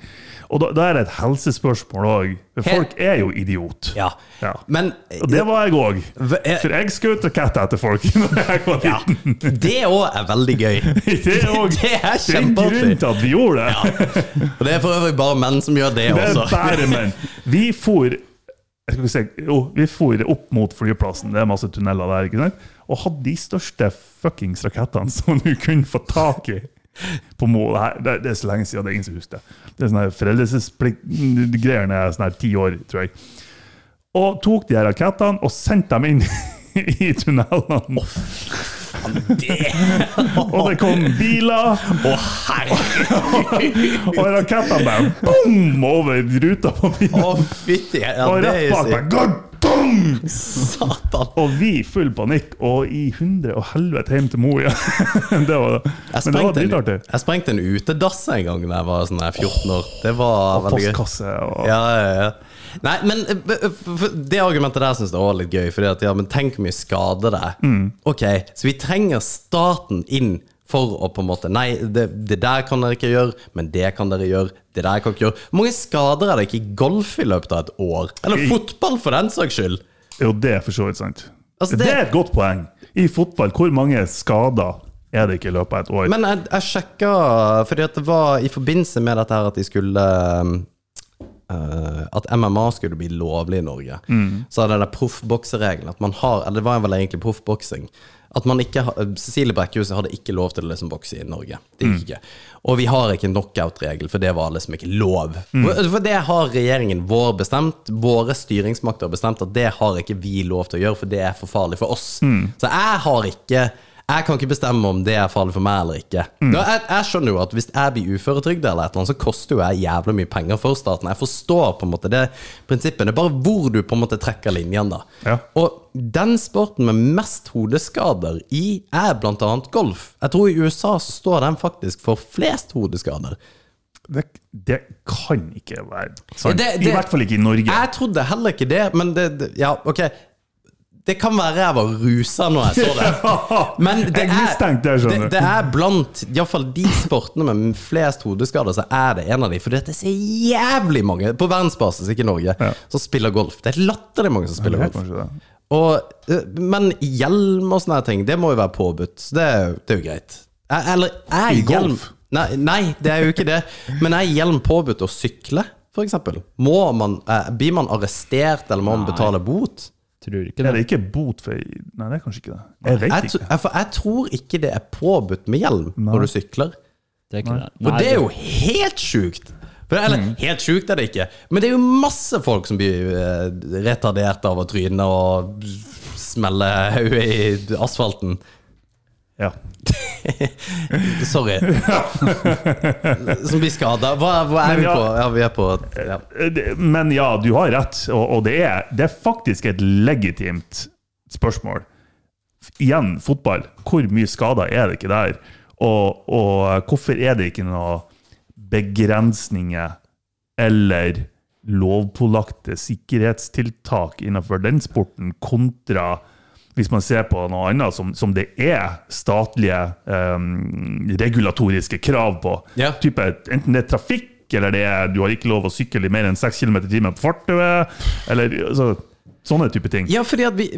G: Og da, da er det et helsespørsmål òg. For
F: Helt-
G: folk er jo idiot.
F: Ja.
G: Ja.
F: Men eh,
G: Og det var jeg òg.
F: Hva er-
G: For jeg skjøt raketter etter folk når jeg var liten.
F: det òg er veldig gøy.
G: Det er òg
F: Det er
G: en
F: kjempeartig.
G: grunn til at vi gjorde det.
F: Og det er for øvrig bare menn som gjør det
G: det er
F: også.
G: bare menn. Vi for jeg skal ikke si, jo, vi for opp mot flyplassen, det er masse tunneler der, ikke sant? og hadde de største fuckings rakettene som du kunne få tak i på Mo. Det, her, det, det er så lenge siden, det er ingen som husker det. Det er sånne her foreldelsesplikt-greier når jeg er sånn her ti år, tror jeg. Og tok de her rakettene og sendte dem inn i tunnelene. Og det kom biler,
F: Å, herregud!
G: og rakettene bare boom over ruta på bilen.
F: Å, fytti ja,
G: Og
F: Det
G: rett bak
F: er
G: meg. Gardong!
F: jo satan.
G: Og vi full panikk, og i hundre og helvete hjem til Moria. det var
F: Jeg
G: det. Men det var
F: sprengte,
G: dritartig.
F: en, jeg sprengte en utedass en gang da jeg var sånn her 14 år. Det var
G: Og
F: veldig gøy.
G: postkasse og
F: Ja, ja, ja. Nei, men eh, b- eh, for- det argumentet der syns jeg også er litt gøy. Fordi at, ja, men tenk hvor mye skade det er. Ok, så vi trenger staten inn for å på en måte Nei, det, det der kan dere ikke gjøre, men det kan dere gjøre. Det der kan dere ikke gjøre. Hvor mange skader er det ikke i golf i løpet av et år? Eller
G: I-
F: fotball, for den saks skyld.
G: Jo, det er for så vidt sant.
F: Altså,
G: det...
F: det-
G: er et godt poeng. I fotball, hvor mange skader er det ikke i løpet av et år?
F: Men jeg, jeg sjekka, fordi at det var i forbindelse med dette her at de skulle um, eh, At MMA skulle bli lovlig i Norge. Så er det den proffbokseregelen at man har Eller det var vel egentlig proffboksing. At man ikke ha- Cecilie Brekkhus hadde ikke lov til å liksom bokse i Norge. Det gikk ikke. Og vi har ikke en knockout-regel, for det var liksom ikke lov. For, for det har regjeringen vår bestemt, våre styringsmakter har bestemt, at det har ikke vi lov til å gjøre, for det er for farlig for oss. Så jeg har ikke Jeg kan ikke bestemme om det er farlig for meg eller ikke. Nå, jeg, jeg skjønner jo at Hvis jeg blir uføretrygda, eller et eller annet, så koster jo jeg jævla mye penger for staten. Jeg forstår på en måte det prinsippet. Det er bare hvor du på en måte trekker linjen. da.
G: Ja.
F: Og den sporten med mest hodeskader i er blant annet golf. Jeg tror i USA så står den faktisk for flest hodeskader.
G: Det, det kan ikke være sant.
F: Det- det-
G: I hvert fall ikke i Norge.
F: Jeg trodde heller ikke det, men det, det Ja, ok. Det kan være jeg var rusa når jeg så det. Men det
G: Jeg
F: er,
G: mistenkte det,
F: det,
G: skjønner du.
F: det er blant iallfall de sportene med flest hodeskader, så er det en av de. For det er så jævlig mange, på verdensbasis, ikke i Norge, som spiller golf. Det er latterlig mange som
G: Det
F: spiller
G: er
F: golf.
G: kanskje det.
F: Og, eh, men hjelm og sånne her ting, det må jo være påbudt. så Det, er jo- det er jo greit. Er, eller er
G: I
F: hjelm
G: golf?
F: nei, nei, det er jo ikke det. Men er hjelm påbudt å sykle, f.eks.? Uh, blir man arrestert, eller må man betale bot?
H: Tror ikke
G: Er
H: det.
G: det ikke bot for Nei, det er kanskje ikke det. Jeg vet
F: Jeg, tro-
G: ikke.
F: jeg, for jeg tror ikke det er påbudt med hjelm når du sykler.
H: Det er ikke det.
F: Og
H: Nei,
F: det er jo helt sjukt! For, eller, helt sjukt er det ikke, men det er jo masse folk som blir eh, retardert av å tryne og smelle hodet i asfalten.
G: Ja.
F: Sorry. Som blir skada. Hva, hva er
G: Men
F: vi
G: ja.
F: på? Ja, vi er på ja.
G: Eh, Det- Men ja, du har rett, og, og det, er, det er faktisk et legitimt spørsmål. Igjen, fotball. Hvor mye skader er det ikke der? Og, og hvorfor er det ikke noe begrensninger eller lovpålagte sikkerhetstiltak innenfor den sporten, kontra hvis man ser på noe annet som, som det er statlige eh, regulatoriske krav på.
F: Ja.
G: Type, enten det er trafikk, eller det er du har ikke lov å sykle i mer enn 6 km i timen på fortauet, eller altså, sånne type ting.
F: ja, fordi at vi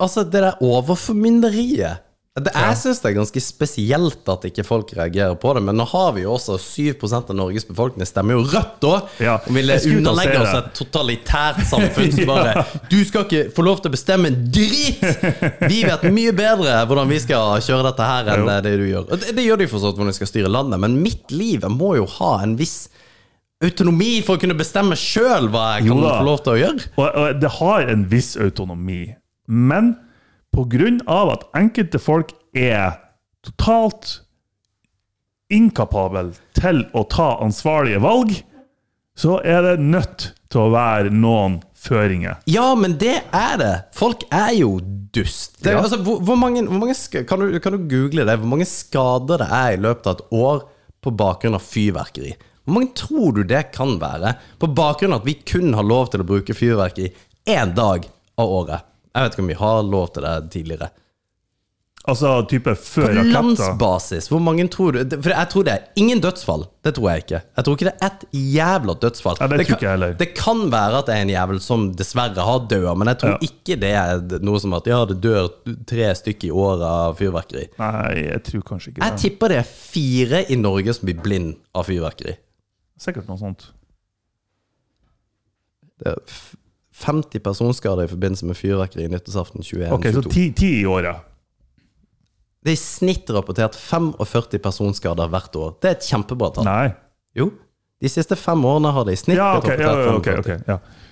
F: Altså, det der overformynderiet det, Jeg syns det er ganske spesielt at ikke folk reagerer på det, men nå har vi jo også 7 av Norges befolkning stemmer jo rødt, da!
G: Ja,
F: og ville
G: jeg skulle til å si
F: underlegge oss
G: det.
F: et totalitært samfunn som bare Du skal ikke få lov til å bestemme en drit! Vi vet mye bedre hvordan vi skal kjøre dette her, enn
G: Jo.
F: det du gjør. Og det, det gjør de for så vidt hvordan de skal styre landet, men mitt liv jeg må jo ha en viss autonomi for å kunne bestemme sjøl hva jeg
G: Jo
F: kan
G: da.
F: få lov til å gjøre.
G: Og, og det har en viss autonomi. Men pga. at enkelte folk er totalt inkapable til å ta ansvarlige valg, så er det nødt til å være noen føringer.
F: Ja, men det er det. Folk er jo dust. Det, er-
G: Ja.
F: altså, hvor, hvor mange, hvor mange sk- kan, du, kan du google det? Hvor mange skader det er i løpet av et år på bakgrunn av fyrverkeri? Hvor mange tror du det kan være? På bakgrunn av at vi kun har lov til å bruke fyrverkeri én dag av året. Jeg vet ikke om vi har lov til det tidligere.
G: Altså type
F: På
G: før raketter.
F: landsbasis, hvor mange tror du det- For jeg tror det er ingen dødsfall. Det tror jeg ikke. Jeg tror ikke det er ett jævla dødsfall.
G: Ja, det tror
F: kan,
G: ikke jeg heller.
F: det kan være at det er en jævel som dessverre har dødd, men jeg tror
G: Ja.
F: ikke det er noe som at ja, det dør tre stykker i året av fyrverkeri.
G: Nei, jeg tror kanskje ikke
F: Jeg
G: det.
F: tipper det er fire i Norge som blir blind av fyrverkeri.
G: Sikkert noe sånt.
F: Det er f- 50 personskader i forbindelse med fyrverkeri i nyttårsaften 21
G: Ok, så
F: 22.
G: ti, ti i året.
F: Det er i snitt rapportert 45 personskader hvert år. Det er et kjempebra tall.
G: Nei.
F: Jo. De siste fem årene har det i snitt
G: Ja, ok.
F: blitt
G: Ja,
F: rapportert
G: ja, ok,
F: 45.
G: ok, ja.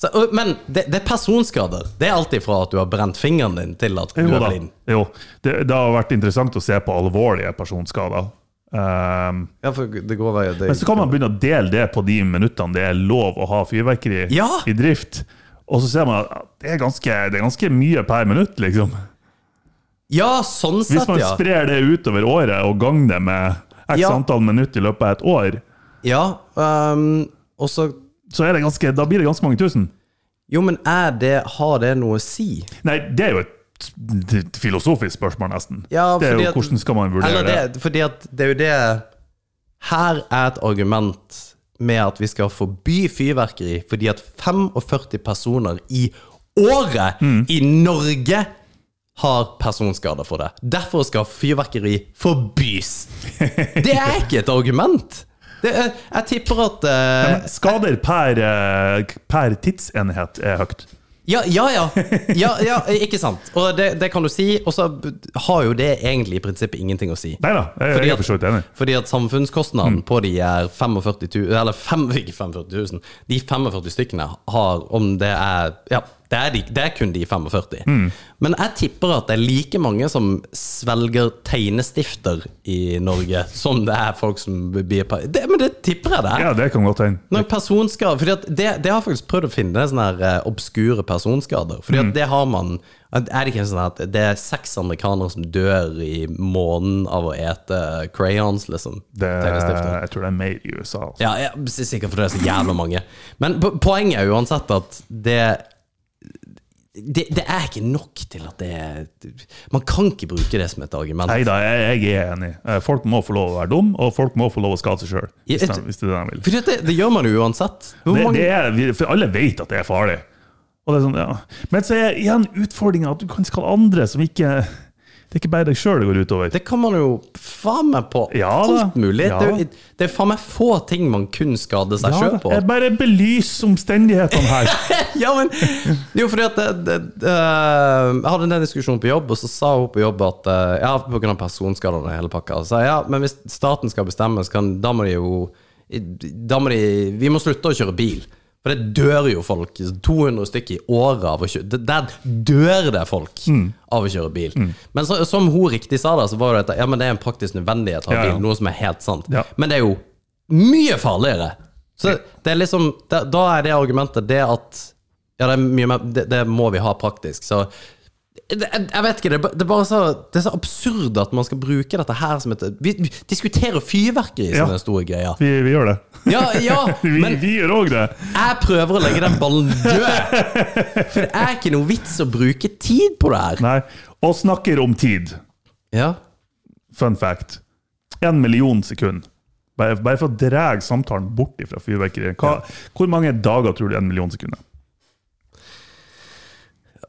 F: Så, ø, men det, det er personskader. Det er alt ifra at du har brent fingeren din, til at du
G: Jo
F: er
G: da.
F: blind.
G: Jo. Det, det har vært interessant å se på alvorlige personskader. Ehm,
F: Ja, for det går vei, det,
G: Men så kan man begynne å dele det på de minuttene det er lov å ha fyrverkeri
F: Ja!
G: i drift. Og så ser man at det er ganske, det er ganske mye per minutt, liksom.
F: Ja, sånn
G: Hvis
F: sett,
G: man
F: ja.
G: sprer det utover året og ganger det med x
F: Ja.
G: antall minutter i løpet av et år,
F: ja øhm, og så
G: så er det ganske, da blir det ganske mange tusen.
F: Jo, men er det, har det noe å si?
G: Nei, det er jo et t- t- filosofisk spørsmål, nesten.
F: Ja,
G: det er
F: fordi
G: jo
F: at-
G: hvordan skal man vurdere
F: Eller
G: det?
F: det, fordi at det er jo det Her er et argument med at vi skal forby fyrverkeri fordi at 45 personer i året
G: Mm.
F: i Norge har personskader for det. Derfor skal fyrverkeri forbys. Det er ikke et argument. Det er, jeg tipper at eh,
G: Men skader per, eh, per tidsenhet er høyt.
F: ja, ja, ja. ja, ja ikke sant. Og det, det kan du si, og så har jo det egentlig i prinsippet ingenting å si.
G: Nei da, jeg,
F: Fordi at-
G: jeg er for så vidt enig. Mm.
F: Fordi at samfunnskostnaden på de er 45 000 Eller fem, ikke 45 000. De 45 stykkene har, om det er ja, Der, de, der kunne de 45.
G: Mm.
F: Men jeg tipper at det er like mange som svelger tegnestifter i Norge, som det er folk som blir pa- det, Men det tipper jeg det er.
G: Ja, det kan godt hende.
F: Når personskader Fordi at det, det har jeg faktisk prøvd å finne sånne her eh, obskure personskader. Fordi
G: Mm.
F: at det har man at Er det ikke sånn at det er seks amerikanere som dør i måneden av å ete crayons, liksom?
G: Det,
F: Tegnestifter.
G: jeg tror det er mer i USA. Altså.
F: Ja, jeg er sikker for det er så jævla mange. Men po- poenget er uansett at det det, det er ikke nok til at det er Man kan ikke bruke det som et argument.
G: Nei da, jeg, jeg er enig. Eh, Folk må få lov å være dum, og folk må få lov å skade seg sjøl.
F: Ja,
G: Hvis,
F: et-
G: de- hvis det er det de vil.
F: Fordi at det, det gjør man jo uansett. Hvor
G: Det,
F: mange-
G: det er, vi- for alle vet at det er farlig. Og det er sånn, ja. Men så er igjen utfordringa at du kan skade andre som ikke Det er ikke bare deg sjøl det går utover.
F: Det kan man jo faen meg på
G: Ja da.
F: alt mulig.
G: Ja.
F: Det, er jo- det er faen meg få ting man kun skader seg
G: Ja,
F: sjøl
G: da. jeg
F: på.
G: bare belys omstendighetene her.
F: Ja, men Jo, fordi at det, det, øh, Jeg hadde den diskusjonen på jobb, og så sa hun på jobb at øh, Ja, pga. personskader og hele pakka. Så sa jeg, ja, men hvis staten skal bestemme, så kan, da må de jo da må de, Vi må slutte å kjøre bil. For det dør jo folk. 200 stykker i året av å kjøre det- Der dør det folk
G: Mm.
F: av å kjøre bil. Men så, som hun riktig sa, da, så var det at ja, men det er en praktisk nødvendighet av
G: Ja, ja.
F: bil. Noe som er helt sant.
G: Ja.
F: Men det er jo mye farligere. Så det er liksom, da- da er det argumentet det at Ja, det, er mye mer, det, det må vi ha praktisk. Så det, jeg, jeg vet ikke, det, er ba- det er bare så, det er så absurd at man skal bruke dette her som et Vi, vi diskuterer fyrverkeri som
G: Ja.
F: den store greia.
G: Vi, vi gjør det.
F: Ja, ja,
G: Vi,
F: men
G: vi gjør òg det.
F: jeg prøver å legge den ballen død! For det er ikke noe vits å bruke tid på det her.
G: Nei. Og snakker om tid.
F: Ja,
G: Fun fact. En million sekund. Bare, bare for å dra samtalen bort fra fyrverkeriet. Hva- Hvor mange dager tror du en million sekund er?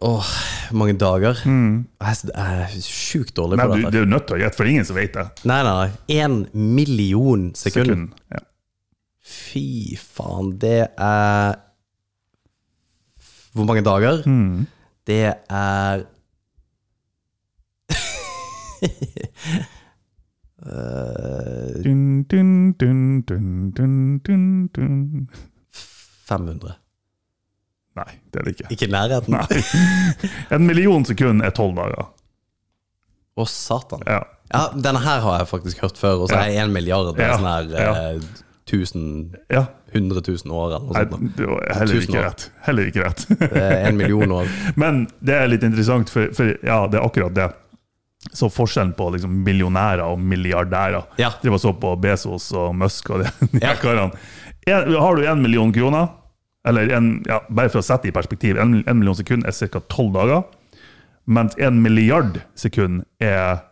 F: Åh, mange dager. Jeg er jeg er sjukt dårlig
G: Mm. Nei,
F: på
G: du,
F: dette.
G: det er jo nødt til å gjette, for det er ingen som vet det.
F: Nei, nei, nei. En million sekund.
G: Sekund. Ja.
F: Fy faen, det er Hvor mange dager? Det er Eh,
G: Dun, dun, dun, dun, dun, dun, dun.
F: 500.
G: Nei, det er det ikke.
F: Ikke i nærheten. Å,
G: En million sekund er tolv dager.
F: satan.
G: Ja.
F: Ja, denne her har jeg faktisk hørt før, og så
G: Ja.
F: er jeg en milliard. Det er
G: Ja,
F: sånn her
G: ja.
F: eh, 1000
G: ja.
F: 100 000 år eller noe
G: Nei,
F: sånt.
G: det var heller
F: Tusen
G: ikke
F: år.
G: rett. Heller ikke rett.
F: da. Eh, En million år.
G: Men det er litt interessant, for, for ja, det er akkurat det. Så forskjellen på liksom, millionærer og milliardærer
F: Ja.
G: Driver og så på Bezos og Musk og de, de her
F: Ja.
G: karene. En, har du én million kroner, eller en, ja, bare for å sette det i perspektiv, en, en million sekund er ca. tolv dager, mens en milliard sekund er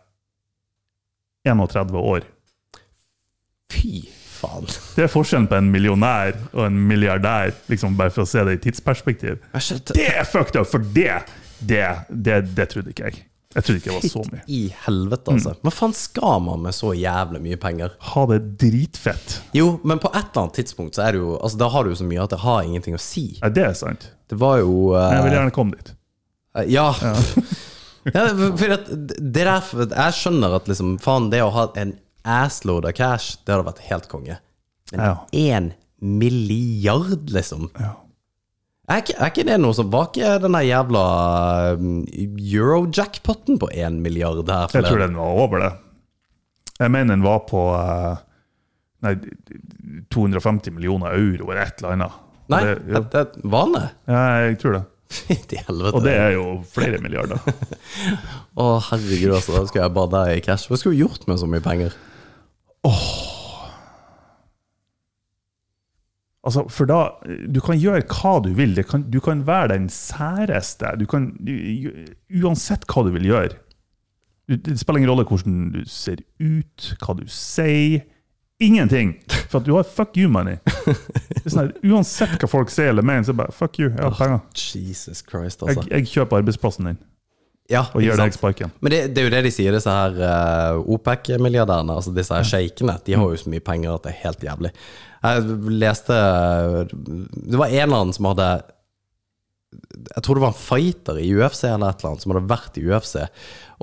G: 31 år.
F: Fy faen.
G: Det er forskjellen på en millionær og en milliardær, liksom bare for å se det i tidsperspektiv.
F: Jeg skjønte-
G: Det er fucked up, for det, det, det, det trodde ikke jeg. Jeg trodde ikke det var så mye. Mm.
F: I helvete, altså. Hva faen skal man med så jævlig mye penger?
G: Ha det dritfett.
F: Jo, men på et eller annet tidspunkt så er det jo Altså, da har du jo så mye at det har ingenting å si.
G: Nei, det er sant.
F: Det var jo eh,
G: Men jeg vil gjerne komme dit.
F: Ja. ja. for- for at det der Jeg skjønner at liksom Faen, det å ha en assload av cash, det hadde vært helt konge.
G: Ja.
F: Én milliard, liksom. Er ikke, er ikke det noe som Var ikke den der jævla um, euro-jackpoten på én milliard her?
G: Jeg tror
F: forleden?
G: den var over det. Jeg mener den var på eh, nei, 250 millioner euro eller et eller annet. Og
F: Nei,
G: Det, jo.
F: det, det var det.
G: ja, jeg tror det.
F: Til helvete.
G: Og det er jo flere milliarder.
F: Å, herregud, altså. Da skal jeg bare der i cash. Hva skulle du gjort med så mye penger?
G: Altså, for da, Du kan gjøre hva du vil. Det kan, du kan være den særeste. Du kan, du, uansett hva du vil gjøre. Du- Det spiller ingen rolle hvordan du ser ut, hva du sier. Ingenting! For at du har fuck you money. Det er sånn her, uansett hva folk sier eller mener, så bare fuck you, jeg har penger.
F: Jesus Christ, altså.
G: Jeg, jeg kjøper arbeidsplassen din
F: ja,
G: og
F: ikke
G: gir deg
F: sant?
G: sparken.
F: Men det, det er jo det de sier, disse her eh, OPEC-milliardærene, altså disse her sjeikene. De har jo så mye penger at det er helt jævlig. Jeg leste eh, Det var en eller annen som hadde Jeg tror det var en fighter i UFC eller et eller annet, som hadde vært i UFC.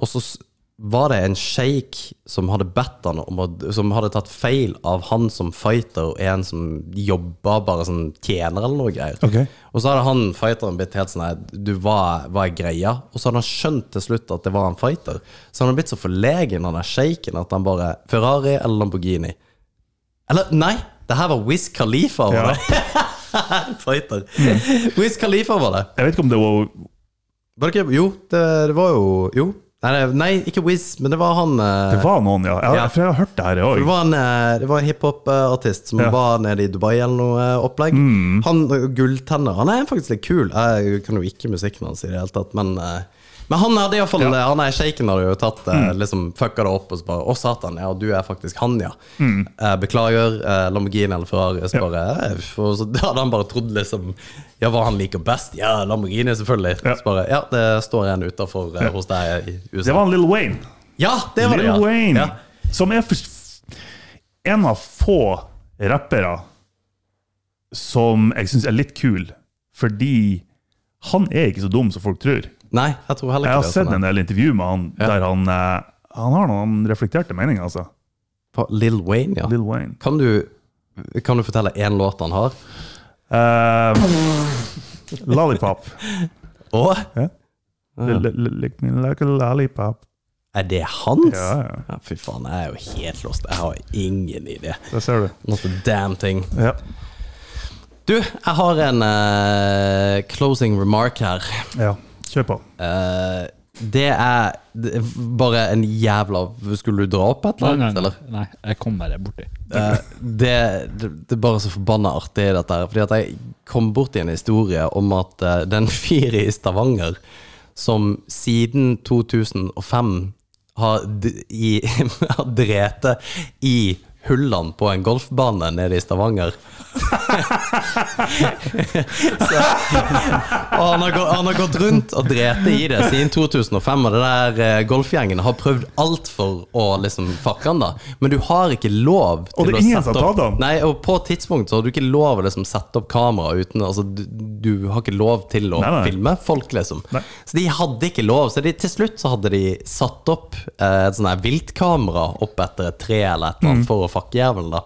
F: Og så s- var det en sjeik som hadde bedt han om å, Som hadde tatt feil av han som fighter og en som jobba bare som tjener eller noe greier.
G: Ok.
F: Og så hadde han fighteren blitt helt sånn her Du, hva, hva er greia? Og så hadde han skjønt til slutt at det var en fighter. Så han hadde blitt så forlegen, han der sjeiken, at han bare Ferrari eller Lamborghini? Eller, nei! Det her var Wiz Khalifa over
G: Ja. Mm.
F: det. fighter. Wiz Khalifa var det.
G: Jeg vet ikke om det var
F: Var det ikke Jo, det, det var jo Jo. Nei, det- nei ikke Wiz, men det var han eh,
G: Det var noen, ja. Jeg,
F: Ja.
G: For jeg har hørt det her,
F: Det
G: jeg òg.
F: var en, eh, det var en hiphop-artist som
G: Ja. Mm.
F: var nede i Dubai eller noe eh, opplegg. Han eh, gulltenner. Han er faktisk litt kul. Jeg kan jo ikke musikken hans i det hele tatt, men eh, men han hadde iallfall ja. Han er shaken hadde jo tatt eh,
G: Mm.
F: liksom fucka det opp og så bare Å, satan, ja, du er faktisk han, ja.
G: Mm.
F: Eh, beklager, eh, Lamborghini eller Ferrari. Så bare, eh, og så hadde han bare trodd liksom Ja, hva han liker best? Ja, Lamborghini, selvfølgelig.
G: Ja.
F: Så bare Ja, det står en utafor eh, hos deg i USA.
G: Det var en Lill Wayne.
F: ja, det var det,
G: Lil
F: ja.
G: Wayne,
F: Ja.
G: som er for, en av få rappere som jeg syns er litt kul, fordi han er ikke så dum som folk tror.
F: Nei, jeg tror heller
G: Jeg
F: ikke
G: har
F: det.
G: sett
F: sånn.
G: en del intervju med han der han, eh, han har noen reflekterte meninger, altså.
F: På Lil Wayne, ja.
G: Lill Wayne.
F: Kan, du, kan du fortelle én låt han har?
G: Eh, lollipop.
F: Og
G: Li- li- li- Lick me like a lollipop.
F: er det hans?
G: Ja, ja.
F: Fy faen, jeg er jo helt lost. Jeg har ingen idé.
G: Der ser du.
F: Not a damn thing.
G: Ja.
F: Du, jeg har en eh, closing remark her.
G: ja. Kjør på.
F: Eh, det er det er bare en jævla Skulle du dra opp et eller annet, eller?
H: nei, jeg kom bare borti.
F: Eh, det, det, det er bare så forbanna artig, dette her. Fordi at jeg kom borti en historie om at eh, det er en fyr i Stavanger som siden 2005 har, d- i, har drete i hullene på en golfbane nede i Stavanger. Og han har, gått, han har gått rundt og drete i det siden 2005, og det der eh, golfgjengen har prøvd alt for å liksom fucke han, da. Men du har ikke lov til
G: Og det er
F: å
G: ingen
F: sette
G: som har
F: opp-
G: tatt han.
F: Nei, og på et tidspunkt så har du ikke lov å liksom sette opp kamera uten Altså, du, du har ikke lov til å
G: Nei, nei.
F: filme folk, liksom.
G: Nei.
F: Så de hadde ikke lov. Så de, til slutt så hadde de satt opp eh, et sånn her viltkamera opp etter et tre eller et eller
G: Mm.
F: annet for å fucke jævelen, da.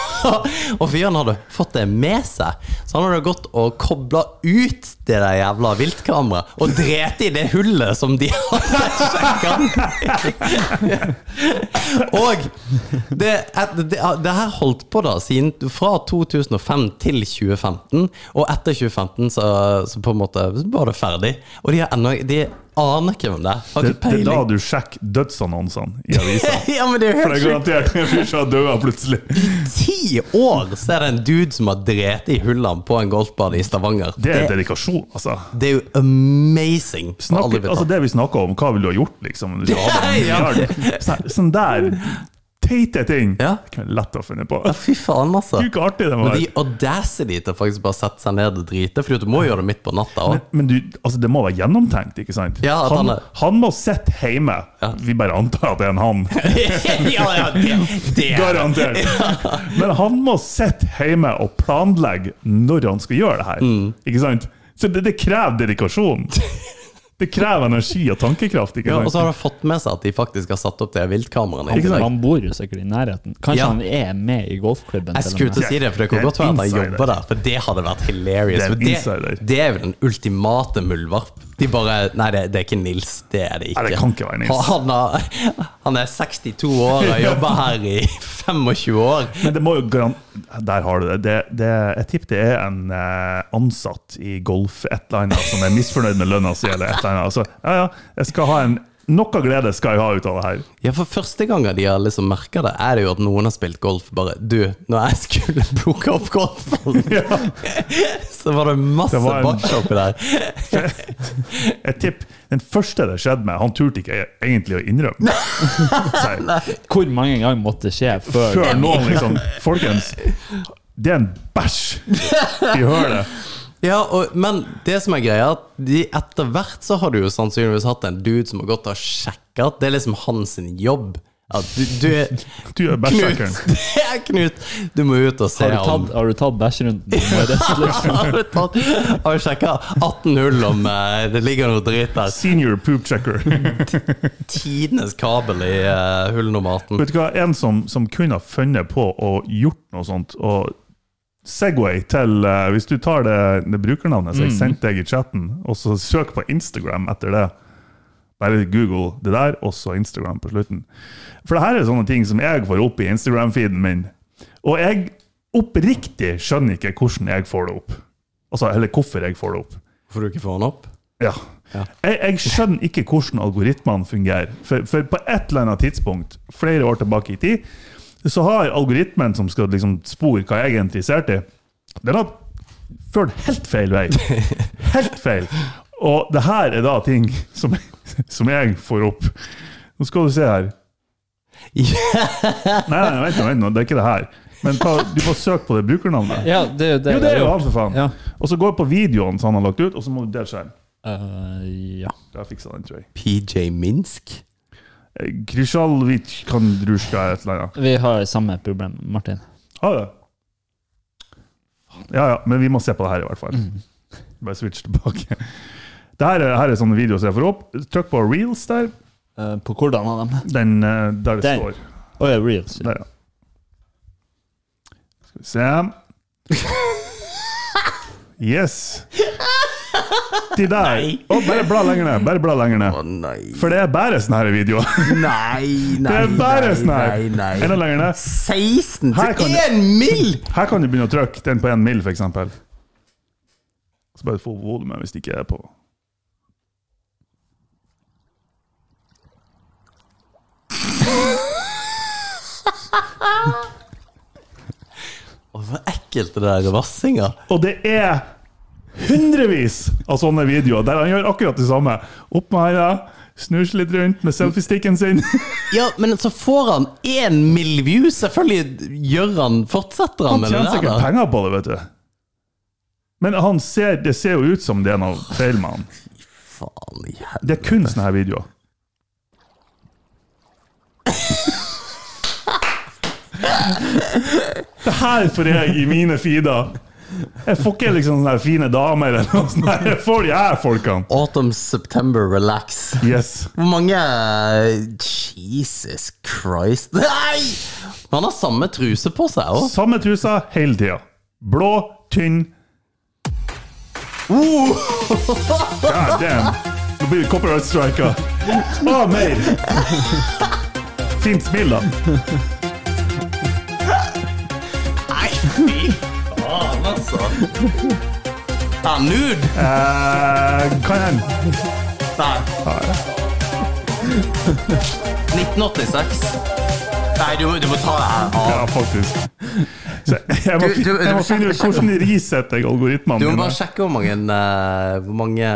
F: og fyren hadde fått det med seg, så han hadde gått og kobla ut det der jævla viltkameraet og drete i det hullet som de hadde sjekka. Og det, det, det her holdt på da siden, fra 2005 til 2015. Og etter 2015 så, så på en måte var det ferdig. Og de, har ennå- de aner ikke hvem det er. Har
G: Det,
F: ikke
G: det er da
F: peiling.
G: du sjekker dødsannonsene i avisa.
F: Ja, men det er jo
G: For
F: helt
G: det er
F: sjukt.
G: garantert en fyr som har dødd plutselig.
F: Ti år så er det en dude som har drept i hullene på en golfbane i Stavanger.
G: Det er
F: det,
G: dedikasjon, altså.
F: det er jo amazing. på
G: Snakk,
F: alle
G: altså
F: plan.
G: det vi snakker om, hva ville du ha gjort, liksom? Hvis du hadde en
F: Ja.
G: milliard. Sånn- Sånn der teite ting.
F: Ja.
G: Det kunne jeg lett å finne på.
F: Ja, fy faen, altså.
G: Gud, hvor artig det må
F: Men de
G: være.
F: audacity til faktisk bare å sette seg ned og drite, Fordi du må gjøre det midt på natta òg.
G: Men du, altså det må være gjennomtenkt, ikke sant?
F: Ja, at
G: han,
F: han er-
G: han må sitte hjemme. Vi bare antar at det er en han.
F: ja, ja, det, det er det.
G: Garantert. Men han må sitte hjemme og planlegge når han skal gjøre det her.
F: Mm.
G: Ikke sant? Så det, det krever dedikasjon. Det krever energi og tankekraft. ikke
F: Ja, og
G: sant?
F: så har de fått med seg at de faktisk har satt opp det viltkameraene. i
G: Ikke sant?
F: tillegg.
H: Han bor jo sikkert i nærheten. Kanskje
F: Ja.
H: han er med i golfklubben?
F: Jeg skulle til å si det, for det kan
G: Det er
F: godt være at han
G: insider.
F: jobber der. For det hadde vært hilarious.
G: Det er en
F: for
G: insider.
F: det, det er jo den ultimate muldvarp. De bare Nei, det, det er ikke Nils. Det er det ikke.
G: Nei, det kan ikke være Nils.
F: Han, har, han er 62 år og jobber her i 25 år.
G: Men det må jo garan... Der har du det. det, det jeg tipper det er en eh, ansatt i golf et eller annet som er misfornøyd med lønna si, eller et eller annet. Altså, ja, ja, jeg skal ha en Noe glede skal jeg ha ut av det her.
F: Ja, for første gangen de har liksom merka det, er det jo at noen har spilt golf bare Du, når jeg skulle plukke opp golfen, så var det masse
G: Det var en-
F: bæsj oppi der.
G: Jeg tipper Den første det skjedde med, han turte ikke egentlig å innrømme. Så,
H: Hvor mange ganger måtte det skje før
G: før noen liksom Folkens, det er en bæsj! Vi hører det.
F: Ja, og, men det som er greia, er at de etter hvert så har du jo sannsynligvis hatt en dude som har gått og sjekka at det er liksom hans sin jobb. Ja, du, du er
G: Du er bæsjekkeren.
F: Knut, det er Knut! Du må ut og se
H: Har du
F: om
H: tatt, har du tatt bæsjerunden? Nå er det slutt.
F: Har du tatt Har du sjekka 18 hull om eh, det ligger noe dritt der?
G: Senior poop checker.
F: Tidenes kabel i eh, hull nummer 18.
G: Vet du hva, en som, som kunne ha funnet på og gjort noe sånt, og Segway til eh, Hvis du tar det, det brukernavnet som jeg sendte deg i chatten, og så søk på Instagram etter det. Bare Google det der, og så Instagram på slutten. For det her er sånne ting som jeg får opp i Instagram-feeden min. Og jeg oppriktig skjønner ikke hvordan jeg får det opp. Altså, eller hvorfor jeg får det opp.
F: Hvorfor du ikke får den opp?
G: Ja. Jeg, jeg skjønner ikke hvordan algoritmene fungerer. For, for på et eller annet tidspunkt, flere år tilbake i tid, så har algoritmen som skal liksom spore hva jeg er interessert i, den har ført helt feil vei. Helt feil. Og det her er da ting som, som jeg får opp. Nå skal du se her. Nei, nei, vent nå, vent nå. Det er ikke det her. Men ta, du må søke på det brukernavnet.
H: Ja, det er jo det.
G: Jo, det er jo han,
H: jeg
G: for faen.
H: har gjort.
G: Og så går jeg på videoen som han har lagt ut, og så må du dele skjerm.
H: Ja. Eh, ja.
G: Jeg fiksa den, tror jeg.
F: PJ Minsk?
G: Eh, Krysjalvic Kandruska et eller annet.
H: Vi har samme problem, Martin.
G: Har det? Ja, ja, men vi må se på det her i hvert fall.
F: Mm.
G: Bare switch tilbake. Det her er, her er sånne videoer som jeg får opp. Trykk på reels der.
H: Eh, på hvordan av dem?
G: Den eh, der det
H: Den.
G: står.
H: Å ja, reels.
G: Der, ja. Skal vi se Yes. De der. Å, bare bla lenger ned. Bare bla lenger ned.
F: Nei.
G: For det er bare sånne her videoer.
F: Nei, nei,
G: Det er bare sånne her.
F: nei, nei.
G: Enda lenger ned.
F: 16
G: Her kan
F: til
G: du-
F: 1 mill!
G: Her kan du begynne å trykke den på en mil, for eksempel. Så bare få volumet hvis det ikke er på.
F: Å, Så ekkelt det der vassinga.
G: Og det er hundrevis av sånne videoer der han gjør akkurat det samme. Opp med handa, snur seg litt rundt med selfiesticken sin.
F: Ja, men så får han 1 mill. views! Selvfølgelig gjør han Fortsetter han
G: Han
F: med det
G: tjener
F: der,
G: sikkert
F: da?
G: penger på det, vet du. Men han ser, det ser jo ut som det er noe feil med han.
F: Faen i helvete.
G: Det er kun sånne her videoer. Det her får jeg i mine feeder. Jeg får ikke liksom sånne her fine damer eller noe sånt. her. Jeg får de her folkene.
F: Autumn September Relax.
G: Yes.
F: Hvor mange Jesus Christ. Nei! Han har samme truse på seg òg.
G: Samme trusa hele tida. Blå, tynn. Oh! God damn. Nå blir det copyright striker. Å, mer! Fint spill, da.
F: Nei, fy faen, altså. Er han nude?
G: Eh, kan hende.
F: Nei. 1986. Nei, du, må- du må ta det her.
G: Ja, faktisk. Så jeg må,
F: Du- du-
G: jeg må finne ut hvordan resetter jeg algoritmene
F: Du må
G: mine.
F: bare sjekke hvor mange, eh, hvor mange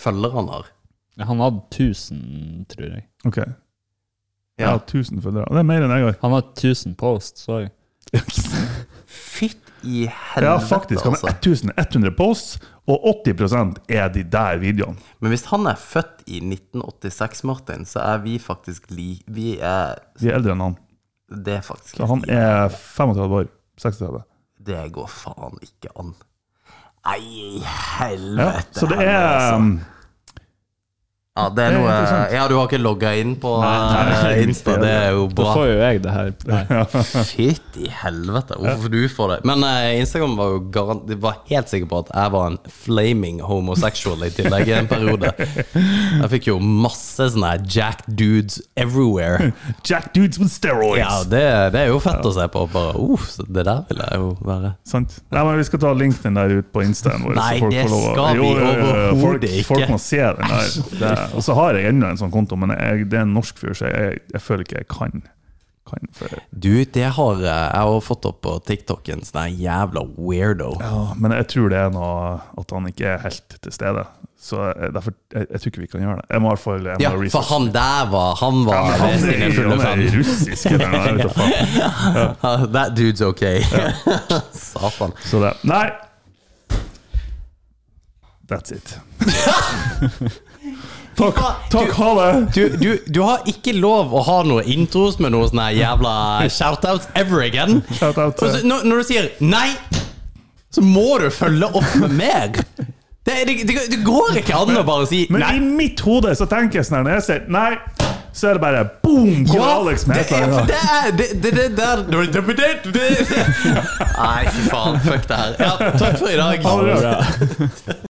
F: følgere han har.
H: Han hadde 1000, tror jeg.
G: Ok, Jeg har 1000 følgere. Det er mer enn jeg har.
H: Han hadde 1000 posts, så jeg.
F: Fytt i helvete,
G: Ja, faktisk. Han har
F: altså.
G: 1100 posts, og 80 er de der videoene.
F: Men hvis han er født i 1986, Martin, så er vi faktisk li... Vi er
G: De er eldre enn han.
F: Det er faktisk
G: Så han er 35 år. 36.
F: Det går faen ikke an. Nei, i
G: Ja,
F: helvete.
G: så det
F: heller,
G: er
F: altså.
G: um,
F: Ja, det er
G: det er
F: noe
G: interessant.
F: Ja, du har ikke logga inn på
G: Nei, nei,
F: eh,
G: det er
F: Insta,
G: riktig,
F: det er jo
H: Da
F: bra.
H: får jo jeg det her. Nei.
F: Fytt i helvete, hvorfor du får det? Men eh, Instagram var jo garant... De var helt sikker på at jeg var en flaming homosexual i tillegg i en periode. Jeg fikk jo masse sånne her jack dudes everywhere.
G: Jack dudes with steroids!
F: Ja, det, det er jo fett å se på. Bare, uh, så det der vil jeg jo være.
G: Sant? Nei, men Vi skal ta linken der ut på Instaen vår.
F: Nei, det
G: å-
F: skal vi
G: folk,
F: overhodet ikke.
G: folk må se den der. Det, og så har jeg enda en sånn konto, men jeg, det er en norsk fyr, så jeg, jeg føler ikke jeg kan. kan for,
F: Du, det har eh, jeg har fått opp på TikTok en sånn her jævla weirdo.
G: ja, men jeg tror det er noe at han ikke er helt til stede. Så jeg, derfor, jeg, jeg tror ikke vi kan gjøre det. Jeg må i hvert fall jeg må
F: Ja,
G: researche.
F: for han der var Han var
G: Ja, men
F: ved sine
G: han er,
F: fulle
G: han
F: fem.
G: er russisk, eller noe, jeg vet da faen.
F: Ja, That dude's okay. Satan.
G: Så det Nei! That's it. Takk, takk, ha det!
F: Du, du, du har ikke lov å ha noen intros med noen sånne jævla shoutouts ever again.
G: Shout-out til-
F: Og så når, når du sier nei, så må du følge opp med mer. Det, det, det, det går ikke an å bare si
G: Men
F: nei.
G: i mitt hode så tenker jeg sånn her, når jeg sier nei, så er det bare boom! Kommer Alex med
F: det
G: et
F: er
G: eller
F: for
G: annet.
F: det er det, det, det der det, det, det, det, det. Nei, fy faen. Fuck det her. Ja, takk for i dag.
G: Ha det bra.